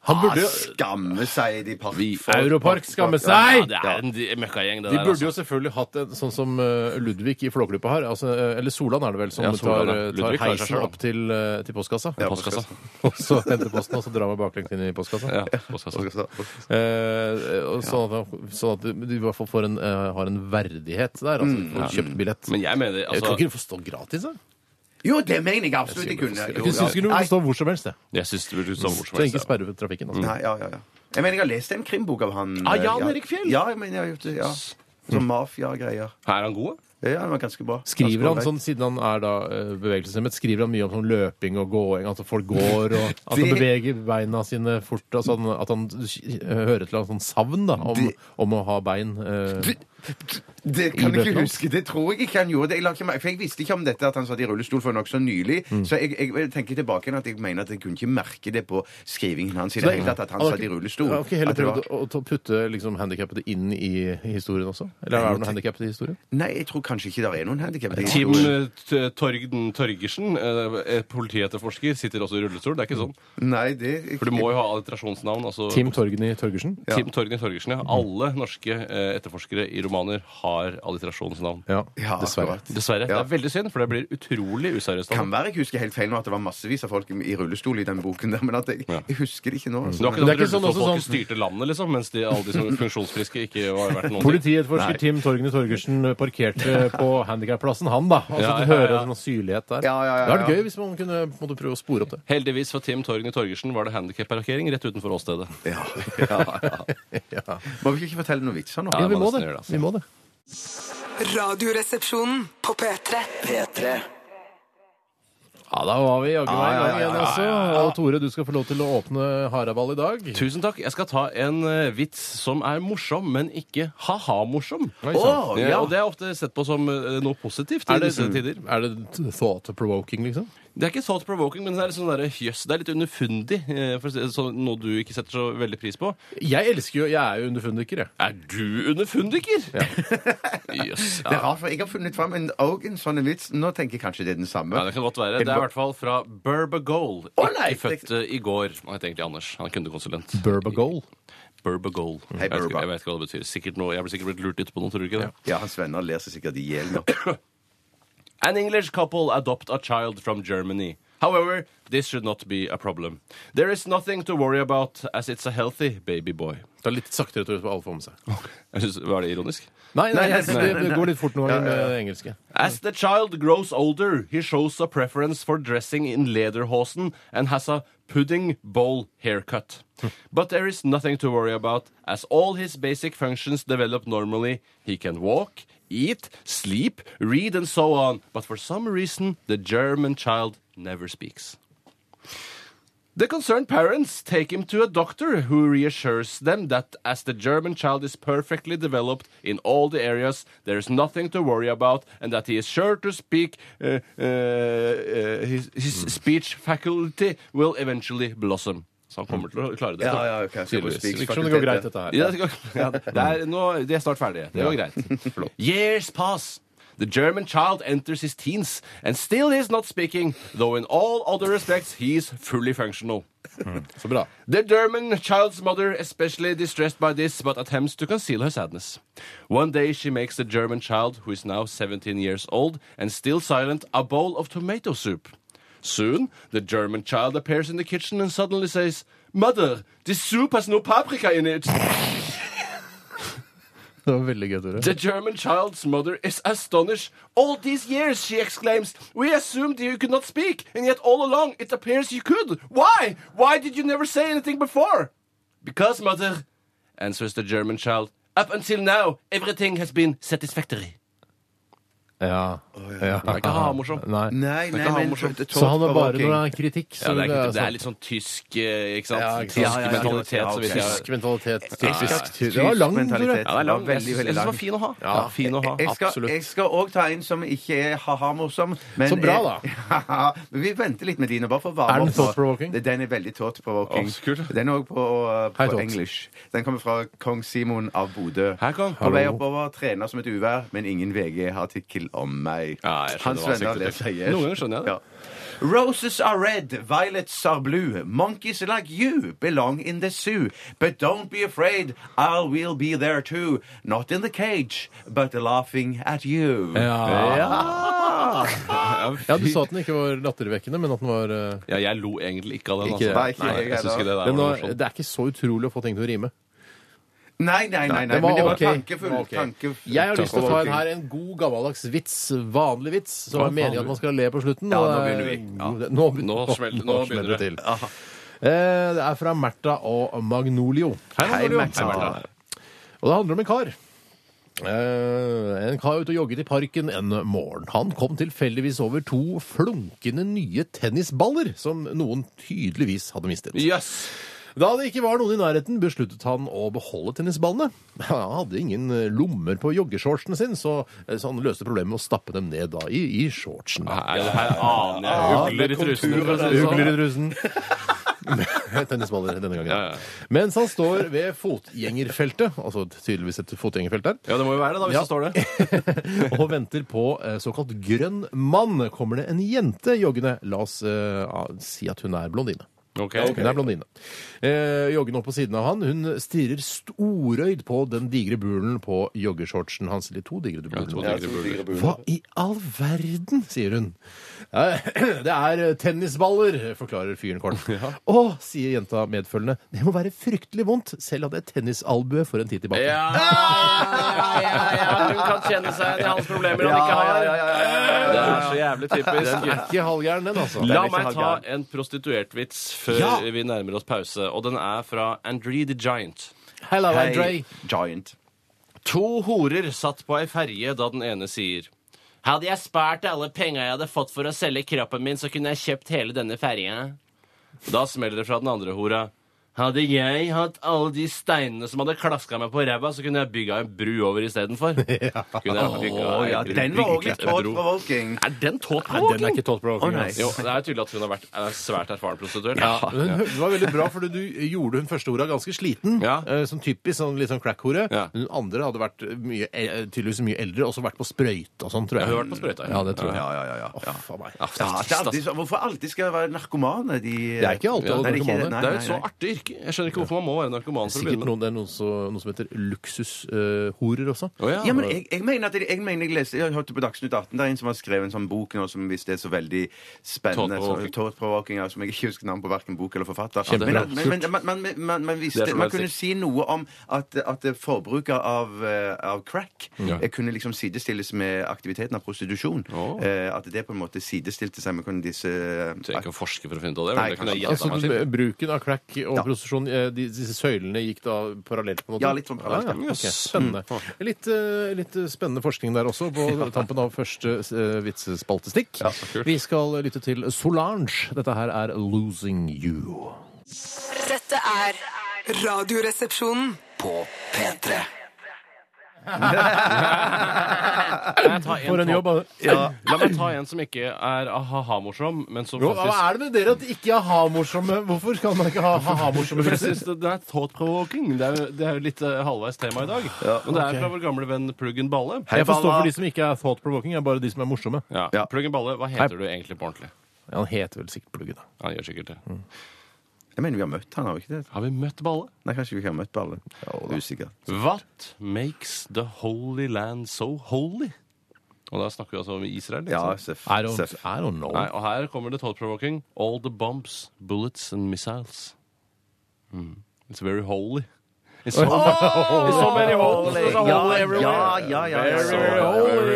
Ah,
Han burde jo
Ah, Skamme seg, de park...
Europark skammer
Ja,
seg!
det er altså- en di- møkkagjeng, det
De
der.
burde jo selvfølgelig hatt en sånn som eh, Ludvig i Flåklypa har. Altså, eh, eller Solan er det vel, som
Ja,
tar,
Solan, ja.
eh, tar
Ludvig klarer seg
heisen
selv, da.
opp til, eh, til postkassa.
Ja, postkassa.
(laughs) Og så henter posten, og så drar man baklengs inn i postkassa.
Ja, postkassa.
Eh, og sånn at, sånn at du i hvert fall får en, eh, har en verdighet der. Altså,
Mm.
du får kjøpt billett.
Men jeg mener
jeg
altså,
tror ikke du får stå gratis. Jeg,
Jo, det mener jeg absolutt jeg kunne.
jeg
Jo,
synes ikke du
ja.
får stå hvor som helst. jeg.
Jeg syns det burde stå hvor
Så
som helst.
ikke
ja.
sperre ved trafikken. Altså.
Nei, ja, ja, ja. Jeg mener jeg har lest en krimbok av han.
Ah,
eh,
Jan Erik Fjell?
Ja, jeg mener jeg har gjort det, ja. Sånn mafia-greier.
Er han god?
Ja, den var ganske bra.
Skriver han
Ganske
sånn, siden han er da eh, bevegelseshemmet, skriver han mye om sånn løping og gåing? At
(laughs)
folk går, og at han
Det-
beveger beina sine fort? Altså han, at han eh, hører et eller annet sånn savn da, om,
Det-
om å ha bein? eh.
Det kan jeg
bøkene
ikke
hans?
huske. Det tror jeg ikke han gjorde. Jeg, la ikke merke, for jeg visste ikke om dette at han satt i rullestol for nokså nylig.
Mm.
Så jeg, jeg, jeg tenker tilbake igjen at jeg mener at jeg kunne ikke merke det på skrivingen hans i det hele tatt, at han
har
satt i
ikke-
rullestol.
Han har ikke heller
At det var-
prøvd å, å putte liksom, handikappede inn i historien også? Eller er det noen handikappede i historien?
Nei, jeg tror kanskje ikke det er noen handikap.
Tim eh, T- Torgden Torgersen, eh, eh, politietterforsker, sitter også i rullestol. Det er ikke sånn.
Nei, det
For du må jo ha alliterasjonsnavn. Altså,
Tim Torgny Torgersen?
Tim Torgny Torgersen, ja. Alle norske eh, etterforskere i romaner har alliterasjonsnavn.
Ja,
Ja,
dessverre.
akkurat.
Dessverre. Det
Ja.
er veldig synd, for det blir utrolig useriøst. av
Kan
dem.
være jeg husker helt feil nå at det var massevis av folk i rullestol i den boken, der, men at jeg, jeg husker det ikke nå.
Det
Altså.
var ikke sånn
Det
at
er ikke sånn også
rullestolfolket
sånn-
styrte landet, liksom, mens de, alle de som er funksjonsfriske ikke har vært noen
(laughs)
ting.
Politietterforsker Tim Torgny Torgersen (laughs) parkerte på handikapplassen, han da. Altså,
Ja, ja,
Du hører
ja.
noen syrlighet der.
Ja, ja, ja,
Det hadde vært
ja.
gøy hvis man kunne på en måte, prøve å spore opp det.
Heldigvis for Tim Torgny Torgersen var det handikapparkering rett utenfor åstedet. (laughs)
Ja, ja, ja. Må vi ikke fortelle noen vitser nå?
Ja,
Ja, vi
man
må
nesten
det.
gjør det, altså.
Vi må det.
Radioresepsjonen på P3.
P3
Ja, da var vi jaggu meg
Ja,
i
ja,
gang igjen
ja, ja,
også. Og Tore, du skal få lov til å åpne haraball i dag.
Tusen takk. Jeg skal ta en eh, vits som er morsom, men ikke ha-ha-morsom.
Oi, sånn.
Å,
sant.
Sånn. Ja,
ja.
og Det er ofte sett på som eh, noe positivt i
Er det,
disse tider.
er det thought-provoking, liksom?
Det er ikke thought provoking, men det er litt, sånn der, jøss, det er litt underfundig. eh, For å si, det sånn, noe du ikke setter så veldig pris på.
Jeg elsker jo Jeg er jo underfundiker, jeg.
Er du underfundiker? (laughs) Jøss.
Det er
Ja.
rart, for jeg har funnet fram en, og en sånn en vits. Nå tenker jeg kanskje det er den samme.
ja, det kan godt være. Det er i hvert fall fra Burbagol.
Å, nei,
Ikke født eh, i går. Han heter egentlig Anders. Han er kundekonsulent.
Burbagol.
Burbagol.
Hei,
Jeg, vet ikke-
Burba.
jeg vet ikke hva det betyr. Sikkert noe, jeg blir sikkert blitt lurt ut på noe, tror du ikke det?
Ja, hans venner ler seg sikkert i hjel
(coughs)
nå.
An English couple adopt a child from Germany. However, this should not be a problem. There is nothing to worry about as it's a healthy baby boy.
Det er litt saktere, Tore, så alle får med seg.
(laughs) Jeg synes, var det ironisk?
Nei, nei,
Nei, nei,
jeg-
nei,
det, det går litt fort noen ganger med det engelske.
As the child grows older, he shows a preference for dressing in lederhosen and has a pudding bowl haircut. But there is nothing to worry about, as all his basic functions develop normally. He can walk, eat, sleep, read, and so on. But for some reason, the German child never speaks. The concerned parents take him to a doctor who reassures them that as the German child is perfectly developed in all the areas, there is nothing to worry about, and that he is sure to speak, uh, uh, uh, his, his
Mm.
speech faculty will eventually blossom. Så han kommer til å klare det.
Mm. Ja, ja, ok. Så på
Tydeligvis.
speak-
Virker som det går greit, dette her.
er
(laughs)
Ja, det, går- ja, det er, nå, de er snart ferdige. Det går greit. Years pass. The German child enters his teens and still is not speaking, though in all other respects he is fully functional.
Så bra.
The German child's mother especially distressed by this, but attempts to conceal her sadness. One day she makes the German child, who is now 17 years old and still silent, a bowl of tomato soup. Soon, the German child appears in the kitchen and suddenly says, Mother, this soup has no paprika in it.
Det var veldig gøy, Tore.
The German child's mother is astonished. All these years, she exclaims, we assumed you could not speak, and yet all along it appears you could. Why? Why did you never say anything before? Because, mother, answers the German child, up until now, everything has been satisfactory.
Ja. ja.
Den er ikke havmorsom.
Nei.
Nei, nei,
han
men
morsomt.
t-
Så han er bare
thought-provoking.
når det er altså kritikk. Så
Ja, det, er, ikke- det
sant.
er litt sånn tysk, eh, ikke sant?
Ja, ikke sant.
Tysk
Ja, ja, ja.
mentalitet.
Ja,
så vidt
ok.
jeg...
Tysk mentalitet.
Tysk-
Tysk. Det var lang, Tore.
mentalitet.
Ja, det er lang.
Veldig,
Jeg syns jeg
veldig
syns den
lang.
var fin å ha.
Ja.
fin å ha.
Jeg skal,
Absolutt.
jeg skal også ta en som ikke er ha-ha-morsom. men-
Så bra, da.
(laughs) Ja, men vi venter litt med dine, bare for å varme
Er den
opp nå.
thought-provoking?
Det- Den er veldig thought-provoking.
Å, så kult.
den er òg på, eh,
Hei,
på
Thought.
English. Den kommer fra kong Simon av Bodø.
Hei, kong.
På vei
Hallo.
oppover, trener som et uvær, men ingen VG-artikkel om meg.
Ja, jeg skjønner
Hans
hva han
venner
sikter
ler
til.
seg i hjel.
Noen ganger skjønner jeg det.
Ja. Roses are red, violets are blue. Monkeys like you belong in the zoo. But don't be afraid, I will be there too. Not in the cage, but laughing at you.
Ja.
Ja,
ja, du sa at den ikke var lattervekkende, men at den var eh,
Ja, jeg lo egentlig ikke av den.
Ikke-
altså.
Nei, ikke jeg
jeg syns ikke det der var
den
noe
var,
morsomt.
Det er ikke så utrolig å få ting til å rime.
Nei, nei, nei, nei,
Det var
men det var
ok. Det
tankefull.
var ok.
tankefull.
Jeg har lyst til å ta en
Tankefull.
her en god gammeldags vits. Vanlig vits. Som
Ja,
er meningen
vanlig.
at man skal le på slutten.
Ja,
og
nå
det er-
begynner vi. Ja.
god- Nå, be-
Nå smell- nå begynner det.
til. Eh, Det er fra Märtha og Magnolio.
Hei,
Magnolio.
Max.
Hei, Martha.
Og det handler om en kar. Eh, en kar ute og jogget i parken en morgen. Han kom tilfeldigvis over to flunkende nye tennisballer som noen tydeligvis hadde mistet.
Jøss!
Da det ikke var noen i nærheten, besluttet han å beholde tennisballene. (laughs) Han hadde ingen eh, lommer på joggeshortsen sin, så, eh, så han løste problemet med å stappe dem ned da, i, i shortsen. da.
Nei, det her aner jeg ugler i trusene. for å si det sånn.
Ugler i trusen. (laughs) Tennisballer denne gangen.
Ja, ja.
Mens han står ved fotgjengerfeltet, altså tydeligvis et fotgjengerfelt der,
Ja, det må jo være det, da, hvis
Ja.
det står det.
(laughs) og venter på eh, såkalt grønn mann, kommer det en jente joggende. La oss eh, ja, si at hun er blondine. Hun er blondine. Eh, joggen opp på siden av han. Hun stirrer storøyd på den digre bulen på joggeshortsen hans. Eller to digre
to
buler.
digre buler.
Hva i all verden, sier hun. Eh, (clears throat) Det er tennisballer, forklarer fyren
(laughs)
kort. Å, sier jenta medfølgende. Det må være fryktelig vondt. Selv hadde jeg tennisalbue for en tid tilbake.
Ja, ja, ja, ja, hun kan kjenne seg igjen i hans problemer han ikke har. Det er så jævlig
Den er
typisk.
ikke halvgæren, den, altså.
La
litt
meg ta
halvgæren.
en prostituertvits før
Ja!
vi nærmer oss pause, og den er fra Andre the Giant.
Hello,
Hei, Giant.
To horer satt på ei ferje da den ene sier Hadde jeg spart alle penga jeg hadde fått for å selge kroppen min, så kunne jeg kjøpt hele denne ferja. Da smeller det fra den andre hora. Hadde jeg hatt alle de steinene som hadde klaska meg på ræva, så kunne jeg bygga en bru over istedenfor. Ja.
Å, ja, den var òg litt thought-provoking.
Er den tåt på? altså.
Den er ikke
Å,
thought-provoking.
nei.
ass.
Jo, det er tydelig at hun har vært er svært erfaren prostituert.
Ja, men hun- Det var veldig bra, for du gjorde hun første orda ganske sliten.
Ja.
eh, Som typisk sånn, litt sånn crack-hore.
Ja.
Men Hun andre hadde vært mye, eh, tydeligvis mye eldre, også vært på sprøyte og sånn, tror jeg.
Ja, hun har vært på sprøyte, ja.
Ja, det tror jeg.
Ja, ja, ja, ja.
Å, faen meg.
Ja,
Ja, det er alltid, så- hvorfor alltid skal det være narkomane? De,
Det er ikke alltid
Ja,
alle
det er ikke det.
narkomane.
Nei,
Det er jo et
nei,
så
nei.
artig yrke. Jeg skjønner ikke hvorfor man må være narkoman for å
Sikkert
begynne med det.
noen, det er noen, så, noe som heter luksushorer også.
Å, ja.
Ja, men jeg, jeg mener at jeg, jeg, mener jeg, leste, jeg hørte på Dagsnytt 18 der er en som har skrevet en sånn bok nå som hvis det er så veldig spennende
Thought-provoking.
så- thought-provoking, ja, som jeg ikke husker navn på hverken bok eller forfatter.
Kjempebra.
Men, men, men, men, men, men, men, men
Det er
visste,
som
man
helst.
kunne si noe om at, at forbruket av, eh, av crack eh, kunne liksom sidestilles med aktiviteten av prostitusjon.
Å.
Eh, at det på en måte sidestilte seg med kunne disse
Jeg trenger ikke å forske for å finne ut av det.
Nei,
Men det kunne jeg
Altså,
gjette meg til.
bruken av crack og prostitusjon, eh, de- disse søylene gikk da parallelt på noe?
Ja, litt sånn parallelt,
Ja, ja. ok. Spennende. Litt, eh, litt spennende forskning der også, på tampen av første eh, vitsespaltestikk. Vi skal lytte til Solange. Dette her er 'Losing You'.
Dette er Radioresepsjonen.
På P3.
Jeg tar en
For en
topp.
jobb, altså.
Ja. La meg ta en som ikke er ha-ha-morsom, men som
Jo,
faktisk
hva er det med dere at de ikke har morsomme Hvorfor kan man ikke ha ha-ha-morsomme
For jeg
vitser?
synes det, det er thought-provoking. Det, er jo- det er jo litt eh, halvveis tema i dag. Men det er fra vår gamle venn Pluggen Balle.
Jeg forstår
Balla.
for de som ikke er thought-provoking, er bare de som er morsomme.
Ja.
Ja.
Pluggen Balle, hva heter du egentlig på ordentlig?
Ja, han heter vel sikkert Pluggen, da.
Ja, Han gjør sikkert det.
Mm. Jeg mener vi har møtt han, har vi ikke det?
Har vi møtt Balle?
Nei, kanskje vi ikke har møtt Balle. Usikker.
What makes the holy land so holy? Og da snakker vi altså om Israel. ikke
Ja,
sant?
Seff.
I don't,
Seff.
I don't know.
Nei, og her kommer det thought-provoking. All the bombs, bullets and missiles. Mm. It's very holy. It's so, it's so many holes. There's a hole everywhere.
Ja, ja, ja. ja.
Very,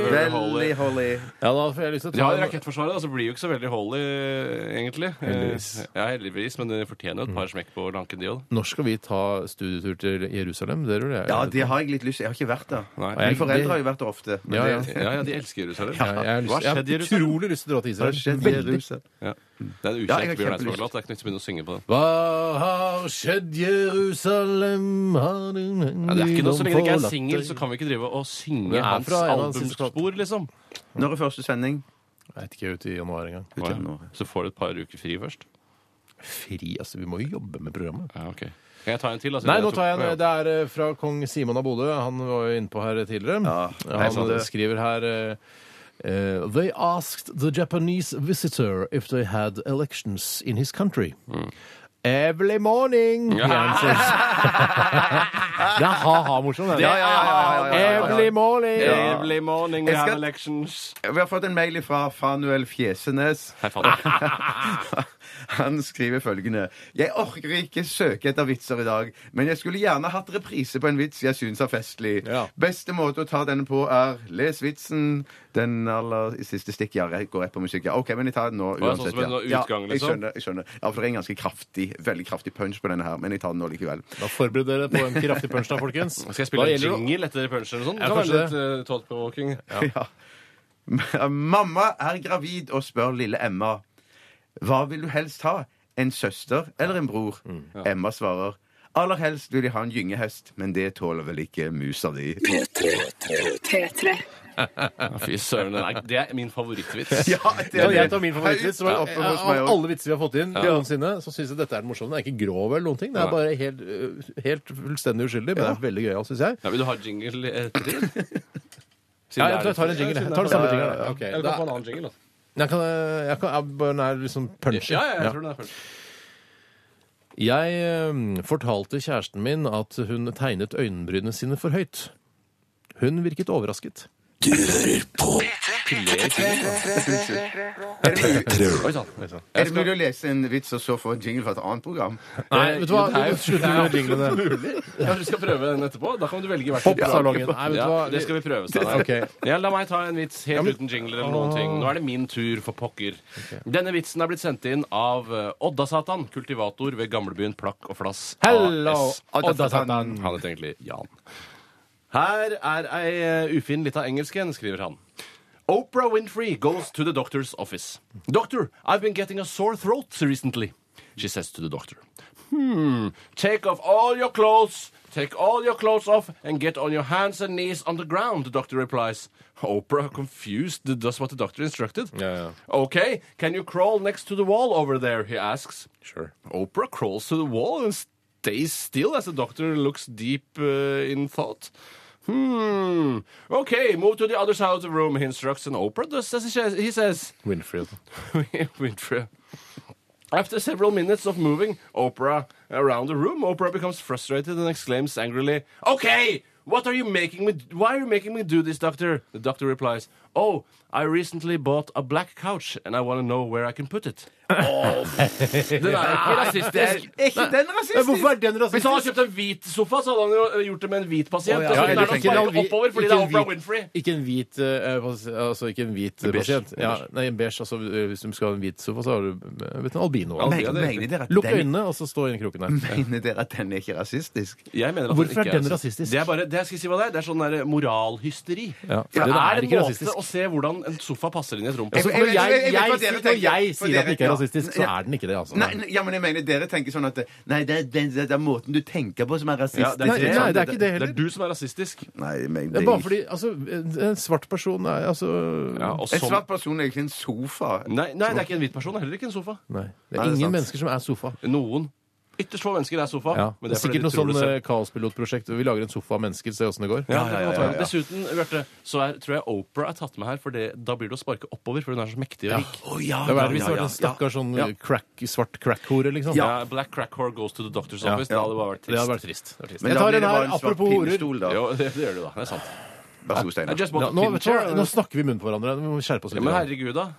very
Veldig
holy.
holy.
Ja, da får jeg lyst til
Ja,
å ta en-
Rakettforsvaret altså, blir jo ikke så veldig holy, eh, egentlig. Eh,
Heldigvis. Mm.
Ja, heldigvis, men de fortjener jo et par smekk på lanken, de òg.
Når skal vi ta studietur til Jerusalem? Det ruller jeg.
Ja, det har jeg litt lyst til. Jeg har ikke vært der.
Nei.
Mine foreldre har jo vært der ofte. Men
Ja, ja.
det-
Ja, ja, de elsker Jerusalem.
Ja, jeg har, lyst,
Hva
jeg
har
har
skjedd i Jerusalem?
utrolig lyst til å dra til
Hva
Israel.
skjedde i Jerusalem?
Ja. Det er en
Ja, jeg har
ukjent Bjørn
kjempelyst.
Eidsvåg-låt. Det er ikke noe vits å begynne å synge på den.
Hva har skjedd Jerusalem? Har du
Ja, det er ikke noe, så lenge det ikke er singel, så kan vi ikke drive og synge
Det er
hans
fra altså, en av hans siste
albumspor, liksom.
Når er første sending?
Jeg vet ikke, jeg er ute i januar engang.
Ut i januar.
Så får du et par uker fri først.
Fri, altså. Vi må jo jobbe med programmet.
Ja, ok. Kan jeg ta en til? Altså,
Nei, nå tar jeg en. Det er eh, fra kong Simon av Bodø. Han var jo innpå her tidligere.
Ja, jeg sa
Han
det.
skriver her eh, eh, They asked the Japanese visitor if they had elections in his country.
Mm.
Every morning, he (laughs) answers. det er ha-ha-morsomt, det.
Ja, ja, ja, ja, ja, ja, ja.
Every morning.
Every morning we
Jeg skal-
have elections.
Vi har fått en mail fra Fanuel Fjesenes.
Hei, fader.
(laughs) Han skriver følgende Jeg orker ikke søke etter vitser i dag, men jeg skulle gjerne hatt reprise på en vits jeg syns er festlig.
Ja.
Beste måte å ta denne på er les vitsen. Den aller siste stikk ja, jeg går rett på musikk. Ja, OK, men jeg tar den nå
ja, sånn
uansett.
som en
ja.
utgang,
ja, jeg
liksom?
skjønner. jeg skjønner Ja, for det er en ganske kraftig, veldig kraftig punch på denne her, men jeg tar den nå likevel.
Da forbereder dere på en kraftig punch da, folkens.
Skal jeg spille
Da
en
gjelder det å-
jingle etter punchen eller sånn?
Ja,
Kan
kanskje
være litt eh, thought-provoking.
Ja. Mamma er gravid og spør lille Emma Hva vil du helst ha? En søster eller en bror?
Mm.
Emma svarer Aller helst vil de ha en gyngehest, men det tåler vel ikke musa
(laughs)
di.
P3.
Ja, Fy søren, det er, det er min (laughs) favorittvits.
Kan jeg ta min favorittvits? Det var
Ja,
oppe
ja,
hos meg også. Av alle vitser vi har fått inn noensinne, så syns jeg dette er den morsomme. Den er ikke grov eller noen ting. Det
Nei.
er bare helt, øh, helt fullstendig uskyldig, men det er veldig gøyal, syns jeg.
Ja, vil du ha jingle eh, etter (laughs) det?
Ja, jeg tror jeg tar en jingle. Jeg tar den samme jingelen. Ok,
Eller
da-
kan få en annen jingle, da.
Jeg kan, øh, jeg kan jeg bare den er liksom punchy.
Ja, ja,
Ja.
jeg tror den er først.
Jeg øh, fortalte kjæresten min at hun tegnet øyenbrynene sine for høyt. Hun virket overrasket.
Oi sann. oi sann.
Er det mulig å lese en vits og så få en jingle fra et annet program?
Nei, Eh, vet du hva?
det er jo-
Vi slutter med jinglene.
Kanskje vi skal prøve den etterpå? Da kan du velge hvert
Popsalongen. Nei, vet du
Ja,
hva?
det skal vi prøve.
(laughs)
Steinar.
Ok.
Ja, la meg ta en vits helt uten jingler eller noen ting. Nå er det min tur, for pokker. Denne vitsen er blitt sendt inn av eh, Odda-Satan, kultivator ved gamlebyen Plakk og Flass.
Hello,
AS.
Odda-Satan.
Han heter egentlig Jan. Her er ei eh, ufin lita engelsk en, skriver han. Oprah Winfrey goes to the doctor's office. Doctor, I've been getting a sore throat recently. She says to the doctor, Hmm, take off all your clothes. Take all your clothes off and get on your hands and knees on the ground, the doctor replies. Oprah, confused, does what the doctor instructed.
Yeah,
Okay, can you crawl next to the wall over there? He asks. Sure. Oprah crawls to the wall and stays still as the doctor looks deep uh, in thought. Hmm. Okay, move to the other side of the room. He instructs, and Oprah does as he says. He says (laughs)
Winfried.
Winfrey. After several minutes of moving Oprah around the room, Oprah becomes frustrated and exclaims angrily, Okay, what are you making me why are you making me do this, doctor? The doctor replies, Oh, I recently bought a black couch and I want to know where I can put (laughs) it. Den er ikke rasistisk.
Er ikke den rasistisk?
Hvorfor er den
Hvis
rasistisk?
han hadde kjøpt en hvit sofa, så hadde han jo eh, gjort det med en hvit
Å,
pasient. og
ja.
så
Ja,
den er
eller
det å
ikke en
sparke
hvit-
oppover fordi
ikke
det
en
er Oprah
hvit-
Winfrey.
Ikke en hvit eh, pas- altså ikke en hvit eh,
beige.
pasient. Ja, nei, en beige. Altså, hvis du skal ha en hvit sofa, så har du eh, vet du, en albino.
Albino.
Men- Mener dere at
Lukk
den-
øynene, og så stå inn i kroken der.
(laughs) mener dere at den er ikke rasistisk?
Jeg mener at
Hvorfor
ikke
er den rasistisk?
Det er bare, det jeg skal si hva det er, det er sånn der moralhysteri.
Ja,
For
den
det
er
er en
ikke
måte
rasistisk.
å å se hvordan en sofa passer inn i et rom.
Altså,
Jeg-
når
jeg-
jeg,
jeg-
jeg,
jeg vet hva dere
sier- når
tenker. For
jeg sier at den
dere-
ikke er
ja.
rasistisk, så
Ja.
er den ikke det. altså.
Nei, nei, ja, men jeg mener dere tenker sånn at Nei, det er, det er, det er måten du tenker på som er rasistisk.
Ja, det er-
Nei, nei, det er ikke det
sånn Det er
heller.
du som er rasistisk.
Nei, jeg mener
Det er
det
bare fordi altså, en- en svart person er altså
Ja, og
En
som-
svart person er ikke en sofa.
Nei, nei, det er ikke en hvit person. Heller ikke en sofa.
Nei. Det
Nei, det er
er ingen
sant.
mennesker som er sofa.
Noen. Ytterst få mennesker er sofa.
Ja.
men
det er sikkert
fordi de
noe
tror
sånn
det selv.
eh, kaospilotprosjekt. Vi lager en sofa av mennesker, se åssen det går.
Ja, ja, ja, ja,
ja.
sånn. Dessuten, Bjarte, så er, tror jeg Opera er tatt med her, for det, da blir det å sparke oppover, for hun er så mektig og rik.
Å, ja,
Det
ja,
var hvis
ja,
det var en
ja, ja.
stakkar sånn
Ja.
crack, svart crack-hore, liksom.
Ja. Black crack whore goes to the doctor's office. Det hadde bare vært
Det hadde
trist.
vært trist.
Men
Jeg
da
tar
blir
en
det bare
her,
en svart
apropos horer.
pinnestol, da.
Jo, det, det gjør du, da. Det er sant.
Vær så god, Steinar.
I just
Ja,
want
nå,
to
vet du, hva,
pinch her.
nå snakker vi i munnen på hverandre. Vi må skjerpe oss litt.
Ja, men
grann.
herregud, da.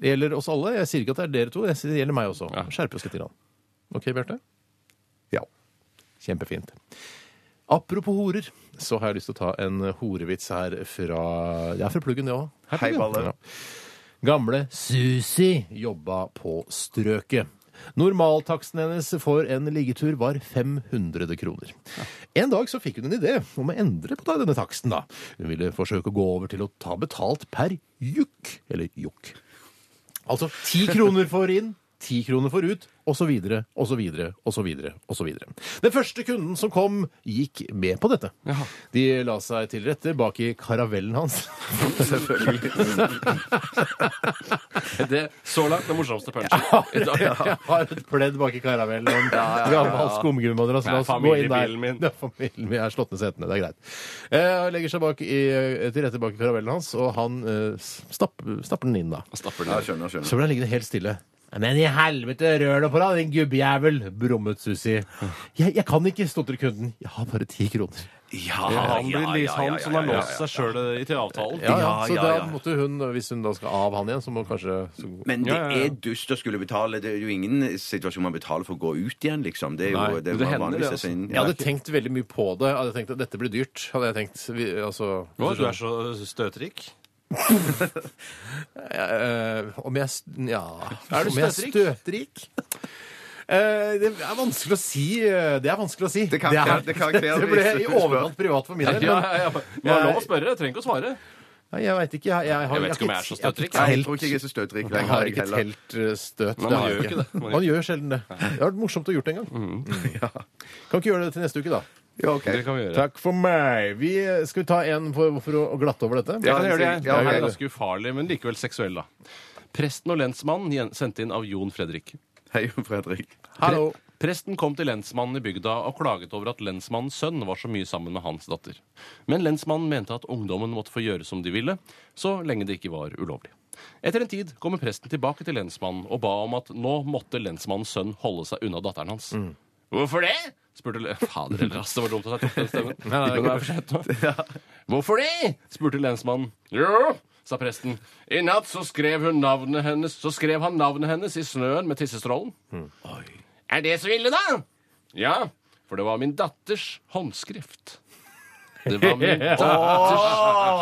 det gjelder oss alle. Jeg sier ikke at det er dere to, jeg sier- det gjelder meg også. Skjerpe oss litt. Grann. OK, Bjarte? Ja. Kjempefint. Apropos horer, så har jeg lyst til å ta en horevits her fra Det er fra pluggen, det òg.
Hei, Balle.
Gamle Susi jobba på strøket. Normaltaksten hennes for en liggetur var 500 kroner. En dag så fikk hun en idé om å endre på denne taksten. da. Hun ville forsøke å gå over til å ta betalt per jukk, eller jukk. Altså ti kroner for inn, ti kroner for ut, og så videre, og så videre, og så videre, og så videre. Den første kunden som kom, gikk med på dette. De la seg til rette bak i karavellen hans.
Det, så langt den morsomste (laughs) punchen. I dag.
Jeg har et pledd bak i karavellen og en gammel skumgummimadrass. La
Det er
oss gå inn der.
familiebilen min.
Det er familien min. Jeg har slått ned setene. Det er greit. Eh, legger seg bak i, til rette bak i karavellen hans, og han eh, stapp, stapper den inn, da.
Stapper
Ja,
den.
skjønner, skjønner.
Så ble han liggende helt stille. Men i helvete, rør deg på deg, din gubbejævel! brummet Susi. Jeg, jeg kan ikke, stotrer kunden. Jeg har bare ti kroner.
Ja,
Han blir
ja,
liksom
ja, ja,
han som har
ja, ja,
låst
ja.
seg sjøl til avtalen.
Ja, ja,
Ja,
så
ja,
da
ja.
måtte hun, hvis hun da skal av han igjen, så må hun kanskje så...
Men det
Ja, ja, ja.
er dust å skulle betale. Det er jo ingen situasjon man betaler for å gå ut igjen, liksom. Det er
Nei,
jo det,
det
man
hender det,
vanligvis
altså.
setter inn-
Jeg hadde tenkt veldig mye på det. Jeg hadde tenkt at dette blir dyrt. hadde jeg tenkt. Vi, altså,
Å, du er så støtrik.
Eh, om jeg s- Ja
Er du
om jeg støtrik? Eh, det er vanskelig å si. eh, Det er vanskelig å si.
Det kan-
er,
det karakterer-
(laughs) det ble i overkant privat for min
Ja,
del.
ja,
men-
ja. Men det er lov å spørre. Jeg trenger ikke å svare.
Nei, jeg veit ikke. Jeg, jeg, har-
Jeg vet ikke om jeg er så
har ikke
støtrik.
Nei, jeg
telt-
tror ikke jeg er så støtrik
Jeg
lenger.
har ikke
heller.
telt eh, støt.
Nei, man
det har
gjør
jeg
jo ikke det. Man gjør-
Man gjør sjelden det. Det hadde vært morsomt å gjort det en gang. Mm. Ja. Kan ikke gjøre det til neste uke, da.
Ja, ok.
Det kan vi gjøre.
Takk for meg. Vi, skal vi ta en for, for å glatte over dette?
Jeg kan gjøre det, jeg.
Ja,
Den
gjør
er
det.
ganske ufarlig, men likevel seksuell, da. Presten og lensmannen gjen- sendt inn av Jon Fredrik.
Hei, Fredrik.
Hallo.
Pre presten kom til lensmannen i bygda og klaget over at lensmannens sønn var så mye sammen med hans datter. Men lensmannen mente at ungdommen måtte få gjøre som de ville, så lenge det ikke var ulovlig. Etter en tid kommer presten tilbake til lensmannen og ba om at nå måtte lensmannens sønn holde seg unna datteren hans. Hvorfor det? spurte le- (laughs) Fader eller ass, det var dumt at jeg tok den stemmen. Men det er for sent nå. Hvorfor det? spurte lensmannen. Jo, sa presten. I natt så skrev, hun navnet hennes, så skrev han navnet hennes i snøen med tissestrålen. Er det så ille, da? Ja, for det var min datters håndskrift. Det var min (laughs) datters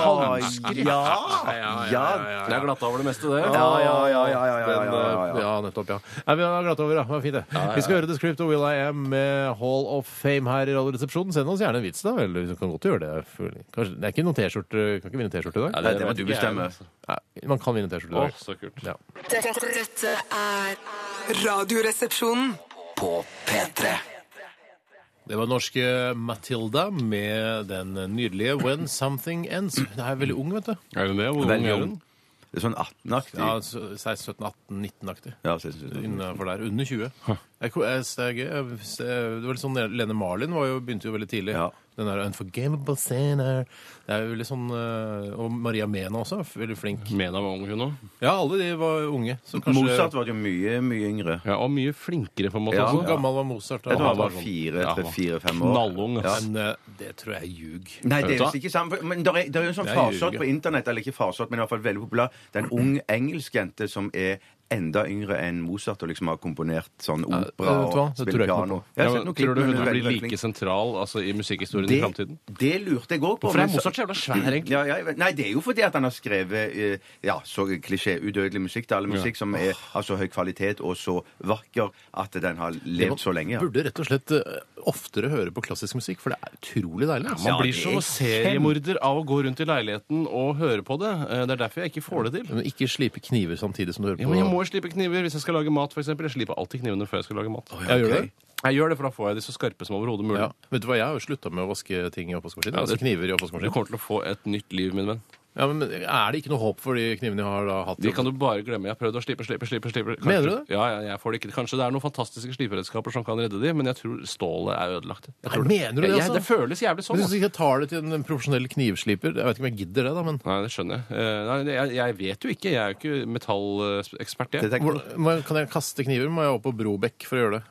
håndskrift. Ja, ja, ja. Det er glatt over det meste, det.
ja, ja, ja, ja, ja,
Den,
ja, ja,
eh,
ja.
Ja, nettopp, ja. Nei, vi har glatt over, ja. Det var fint, det. Vi skal høre The Script og Will I Am med Hall of Fame her i Radioresepsjonen. Send oss gjerne en vits, da. Eller du kan godt gjøre det. Kanskje, det er ikke noen T-skjorte. Kan ikke vinne T-skjorte i dag.
det må du bestemme.
altså.
Nei, man kan vinne T-skjorte i
Å,
dag.
så kult.
Ja.
Dette, dette er Radioresepsjonen.
På P3.
Det var norske Matilda med den nydelige When Something Ends. Hun er veldig ung, vet du.
Er hun det? Hvor
Veldig
ung er
ung.
hun?
Det er sånn 18-aktig.
Ja, 16-17-18-19-aktig.
Ja, så jeg synes det.
Innenfor der. Under 20. Jeg, ko- jeg, det er gøy. Jeg, det var litt sånn Lene Marlin var jo, begynte jo veldig tidlig.
Ja.
Den der 'Unforgameable Sinner'. Det er jo veldig sånn eh, Og Maria Mena også. Veldig flink.
Mena var ung, hun òg.
Ja, alle de var unge. Så kanskje
sånn. Mozart var jo mye, mye yngre.
Ja, og mye flinkere, på en måte.
Ja,
Hvor
også.
gammel var Mozart?
Jeg
da?
tror
han
han var
var sånn-
fire, tre,
ja, han var
fire, fem år.
Knallung, ass.
Men eh, det tror jeg er ljug.
Nei, det er
Vet
visst
du
ikke samme Men det er, der er jo en sånn
Det er
farsott
ljuge.
på internett, eller ikke farsott, men i hvert fall veldig populær. Det er en ung engelsk jente som er enda yngre enn Mozart og liksom har komponert sånn
Ja, vet du
opera
hva?
og
Det tror jeg
spilt
ikke noe
piano.
på.
Jeg
Ja,
har sett
men,
noen
tror
klipp
du
med
hun
Lund
blir
Berkling.
like sentral altså, i musikkhistorien i framtiden?
Det, det lurte jeg òg på.
Hvorfor er
men så-
Mozart så jævla svær, egentlig?
Ja, ja, jeg vet- nei, det er jo fordi at han har skrevet eh, ja, så klisjé udødelig musikk. Det er alle musikk som er av så høy kvalitet og så vakker at den har levd så lenge. Ja.
Burde rett og slett eh, oftere høre på klassisk musikk, for det er utrolig deilig. altså.
Man blir
det
så
er
seriemorder av å gå rundt i leiligheten og høre på det. Eh, Det er derfor jeg ikke får det til.
Men ikke slipe kniver samtidig som du hører
Ja,
på
men jeg må jo slipe kniver hvis jeg skal lage mat, f.eks. Jeg sliper alltid knivene før jeg skal lage mat.
Ja, gjør du
Ok.
det?
Jeg gjør det, for da får jeg de så skarpe som overhodet mulig.
Ja. Vet du hva, jeg har jo slutta med å vaske ting i oppvaskmaskinen.
Ja, det-
altså kniver i
Du
oppvaskmaskinen.
kommer til å få et nytt liv, min venn.
Ja, men er det ikke noe håp for de knivene jeg har da hatt?
De kan du bare glemme. Jeg har prøvd å slipe, slipe, slipe. slipe. Kanskje-
Mener du det?
Ja, ja, jeg får det ikke. Kanskje det er noen fantastiske sliperedskaper som kan redde de, men jeg tror stålet er ødelagt. Jeg
Nei,
tror
mener du det,
Jeg- jeg-
altså?
Det føles jævlig sånn.
Men Hvis
altså.
ikke jeg tar det til en profesjonell knivsliper Jeg vet ikke om jeg gidder det, da, men
Nei, det skjønner jeg. Eh, Nei, det- jeg, jeg vet jo ikke. Jeg er jo ikke metallekspert, jeg.
Detektor.
Hvor- må jeg- kan jeg kaste kniver? Må jeg opp på Brobekk for å gjøre det?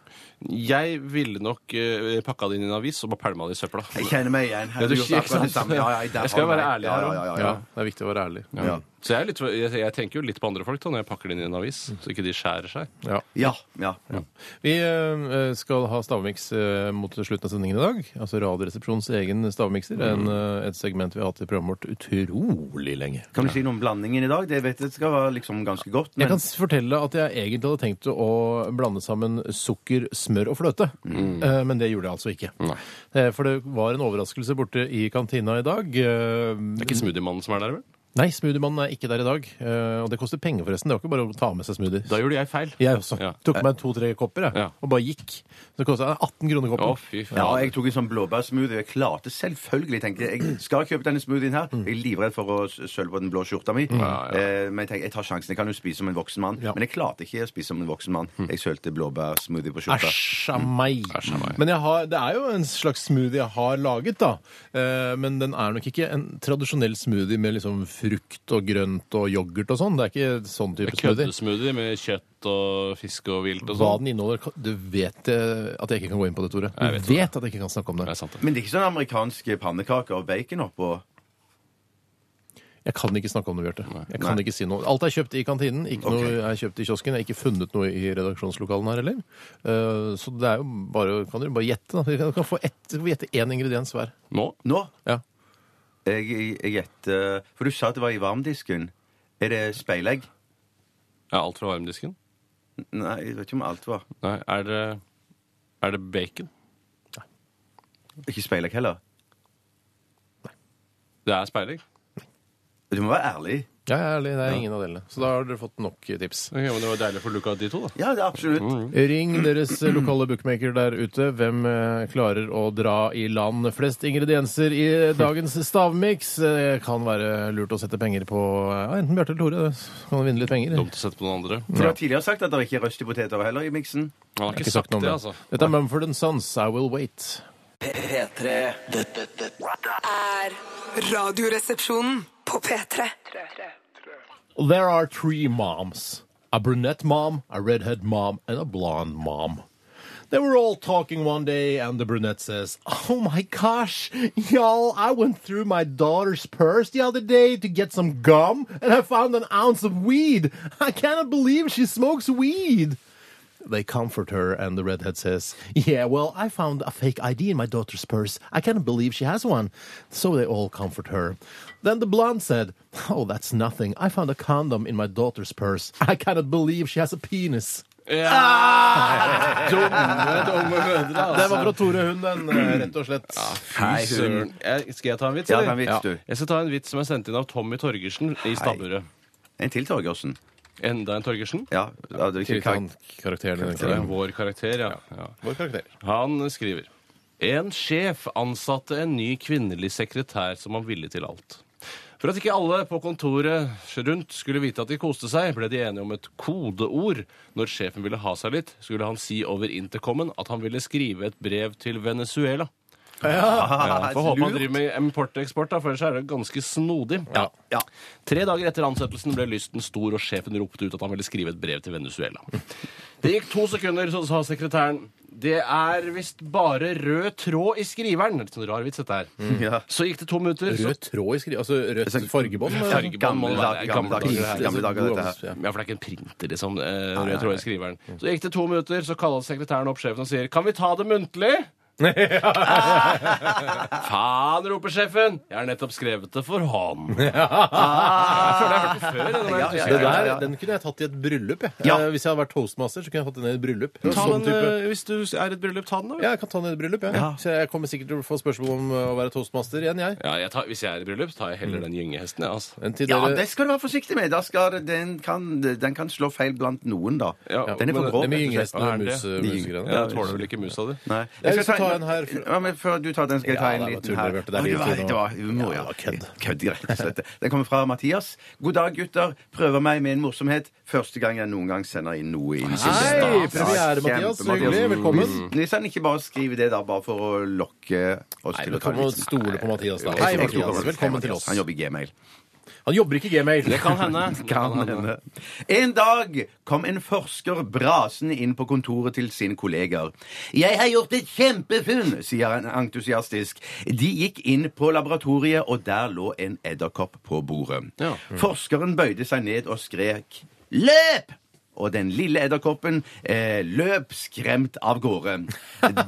Jeg ville nok eh, pakka det inn i en avis og bare pælma det i søpla.
Jeg kjenner meg igjen.
Ja, du-
Hadde gjort
ikke
akkurat det
sant?
samme. Ja, ja, der
Jeg skal
har
være
meg.
ærlig her
Ja,
også.
ja, ja, ja.
Ja, Det er viktig å være ærlig.
Ja.
Så jeg, er litt, jeg, jeg tenker jo litt på andre folk da når jeg pakker det inn i en avis, så ikke de skjærer seg.
Ja.
Ja, ja.
Vi eh, skal ha stavmiks eh, mot slutten av sendingen i dag. Altså Radioresepsjonens egen stavmikser. En,
Mm.
eh, et segment vi har hatt i programmet vårt utrolig lenge.
Kan du si noe om blandingen i dag? Det vet jeg skal være liksom ganske godt.
Jeg
Men
kan s- fortelle at jeg egentlig hadde tenkt å blande sammen sukker, smør og fløte.
Mm.
Eh, Men det gjorde jeg altså ikke. Eh, For det var en overraskelse borte i kantina i dag. Eh,
Det er ikke smoothiemannen som er der, vel?
Nei, smoothiemannen er ikke der i dag. eh, Og det koster penger, forresten. Det var ikke bare å ta med seg smoothie.
Da gjorde jeg feil.
Jeg også.
Ja.
Tok meg to-tre kopper jeg,
Ja.
og bare gikk. Det kosta 18 kroner
Å,
koppen.
fy faen.
ja, jeg tok en sånn blåbærsmoothie. og Jeg klarte selvfølgelig tenkte jeg, jeg skal kjøpe denne smoothien her.
Mm.
Jeg er livredd for å s- sølve på den blå skjorta mi.
ja.
Eh, Men jeg tenkte, jeg tar sjansen. Jeg kan jo spise som en voksen mann.
Ja. Mm.
Men jeg klarte ikke å spise som en voksen mann. Jeg sølte blåbærsmoothie på skjorta.
Æsj a meg.
Mm. Æsj a meg.
Men jeg har, det er jo en slags smoothie jeg har laget, da. Eh, Men den er nok ikke en tradisjonell smoothie med liksom frukt og grønt og yoghurt og sånn. Det er ikke sånn type smoothie.
Køddesmoothie med kjøtt og fisk og vilt og
Hva
sånn.
den inneholder kan- Du vet eh, at jeg ikke kan gå inn på det, Tore. Du
Jeg vet
vet,
det.
at jeg ikke kan snakke om
Det
det.
er sant, det.
Men det er ikke sånn amerikanske pannekaker og bacon oppå?
Jeg kan ikke snakke om det, Bjarte. Jeg kan ikke si noe. Alt er kjøpt i kantinen, ikke noe er kjøpt i kiosken. Jeg har ikke funnet noe i redaksjonslokalene her heller. Eh, Så det er jo bare Kan dere bare gjette, da? Dere kan få ett, dere får gjette én ingrediens hver.
Nå?
Nå?
Ja.
Jeg jeg- jeg gjetter For du sa at det var i varmdisken. Er det speilegg?
Er alt fra varmdisken?
Nei, jeg vet ikke om alt var
Nei, er det, er det bacon?
Ikke speilegg heller.
Det er speilegg.
Du må være ærlig.
Ja, jeg er ærlig, det er ingen av delene. Så da har dere fått nok tips.
Ok, men det var deilig for Luca, de to, da.
Ja, det er absolutt.
Mm.
Ring deres (clears throat) lokale bookmaker der ute. Hvem eh, klarer å dra i land flest ingredienser i dagens stavmiks? Eh, kan være lurt å sette penger på eh, enten Bjarte eller Tore. Så kan du vinne litt penger.
Dumt å sette på noen andre.
For du har tidligere sagt at det ikke er røstepoteter heller i miksen.
Han har
Jeg har
ikke sagt
noe om
det, altså.
Dette er Mumford Sons, I Will Wait.
P3. Dette, dette
Er
Radioresepsjonen på P3.
There are three moms a brunette mom, a redhead mom, and a blonde mom. They were all talking one day, and the brunette says, Oh my gosh, y'all, I went through my daughter's purse the other day to get some gum, and I found an ounce of weed. I cannot believe she smokes weed. They comfort her, and the redhead says, Yeah, well, I found a fake ID in my daughter's purse. I cannot believe she has one. So they all comfort her. Then the blonde said, Oh, that's nothing. I found a condom in my daughter's purse. I cannot believe she has
(laughs)
a penis.
Dumme, dumme mødre,
altså.
Det var fra Tore Hund, den, eh, rett og slett.
Fy søren. Jeg- Skal jeg ta en vits,
Ja, ta en vits, du.
Jeg skal ta en vits som er sendt inn av Tommy Torgersen i Stabburet.
En til, Torgersen.
Enda en Torgersen?
Ja, ja, det er ikke kar-
Karakteren i den
Det er
karakteren.
vår karakter, ja. ja.
Vår karakter.
Han skriver En sjef ansatte en ny kvinnelig sekretær som han ville til alt. For at ikke alle på kontoret rundt skulle vite at de koste seg, ble de enige om et kodeord. Når sjefen ville ha seg litt, skulle han si over intercomen at han ville skrive et brev til Venezuela. Ja, Får håpe han driver med import-eksport, da, for ellers er det ganske snodig.
Ja.
Tre dager etter ansettelsen ble lysten stor, og sjefen ropte ut at han ville skrive et brev til Venezuela. Det gikk to sekunder, så sa sekretæren Det er visst bare rød tråd i skriveren. Litt sånn rar vits, dette her.
Ja.
Så gikk det to minutter. så-
Rød tråd i skrivet? Altså rødt fargebånd?
Fargebånd må
Gamle
være-
dager, gamle dager,
det her.
gamle dager dette her.
Ja.
Ja, for det er ikke en printer, liksom. eh, Rød tråd i skriveren. Så gikk det to minutter, så kaller sekretæren opp sjefen og sier Kan vi ta det (laughs) muntlig? Faen, roper sjefen. Jeg har nettopp skrevet det for hånd. Jeg føler jeg har hørt det før. denne
Ja, ja,
Det
entusiasmen.
ja,
der,
ja.
den kunne jeg tatt i et bryllup. Jeg.
Ja.
Eh, Hvis jeg hadde vært toastmaster, så kunne jeg fått den i et bryllup.
Ta
Sånn
den,
type.
eh, hvis du er i et bryllup, ta den, da. vel?
Ja, jeg kan ta den i et bryllup. jeg. Så jeg kommer sikkert til å få spørsmål om eh, å være toastmaster igjen, jeg.
Ja, jeg tar, hvis jeg er i bryllup, tar jeg heller den gyngehesten. Ja, altså.
Men til
Ja,
dere-
det skal du være forsiktig med. Da skal, det- den, kan, den kan slå feil blant noen, da.
Ja,
den er
men
for grå.
det med
rett og slett.
gyngehesten
Ja, er
og
det?
mus,
De-
musegreiene.
Jeg tåler vel ikke musa di.
Nei.
Jeg skal ta
en-
en her.
Ja, men Før du tar den, skal jeg ta
Ja,
en
det var
liten
tull,
her.
Bjarte. Det er
Å,
din
var-
tur nå.
det var humor,
Ja,
ja.
det var kødd.
(laughs) Kødd, rett og slett. Den kommer fra Mathias. God dag, gutter. Prøver meg med en morsomhet. Første gang jeg noen gang sender inn noe i
Hei, premiere, Mathias. Så hyggelig. Velkommen.
Hvis han ikke bare skriver det, da, bare for å lokke oss
Nei,
til
men
å ta
kan man
litt- sånn-
stole på Mathias, da?
Jeg
Hei,
tror- jeg tror
Mathias.
på
Velkommen til oss.
Han jobber i Gmail.
Han jobber ikke i gmail.
Det
(laughs)
kan hende. Det
Kan hende. En dag kom en forsker brasende inn på kontoret til sine kolleger. 'Jeg har gjort et kjempefunn', sier han entusiastisk. De gikk inn på laboratoriet, og der lå en edderkopp på bordet.
Ja.
Mm.
Forskeren bøyde seg ned og skrek 'Løp!' Og den lille edderkoppen eh, løp skremt av gårde.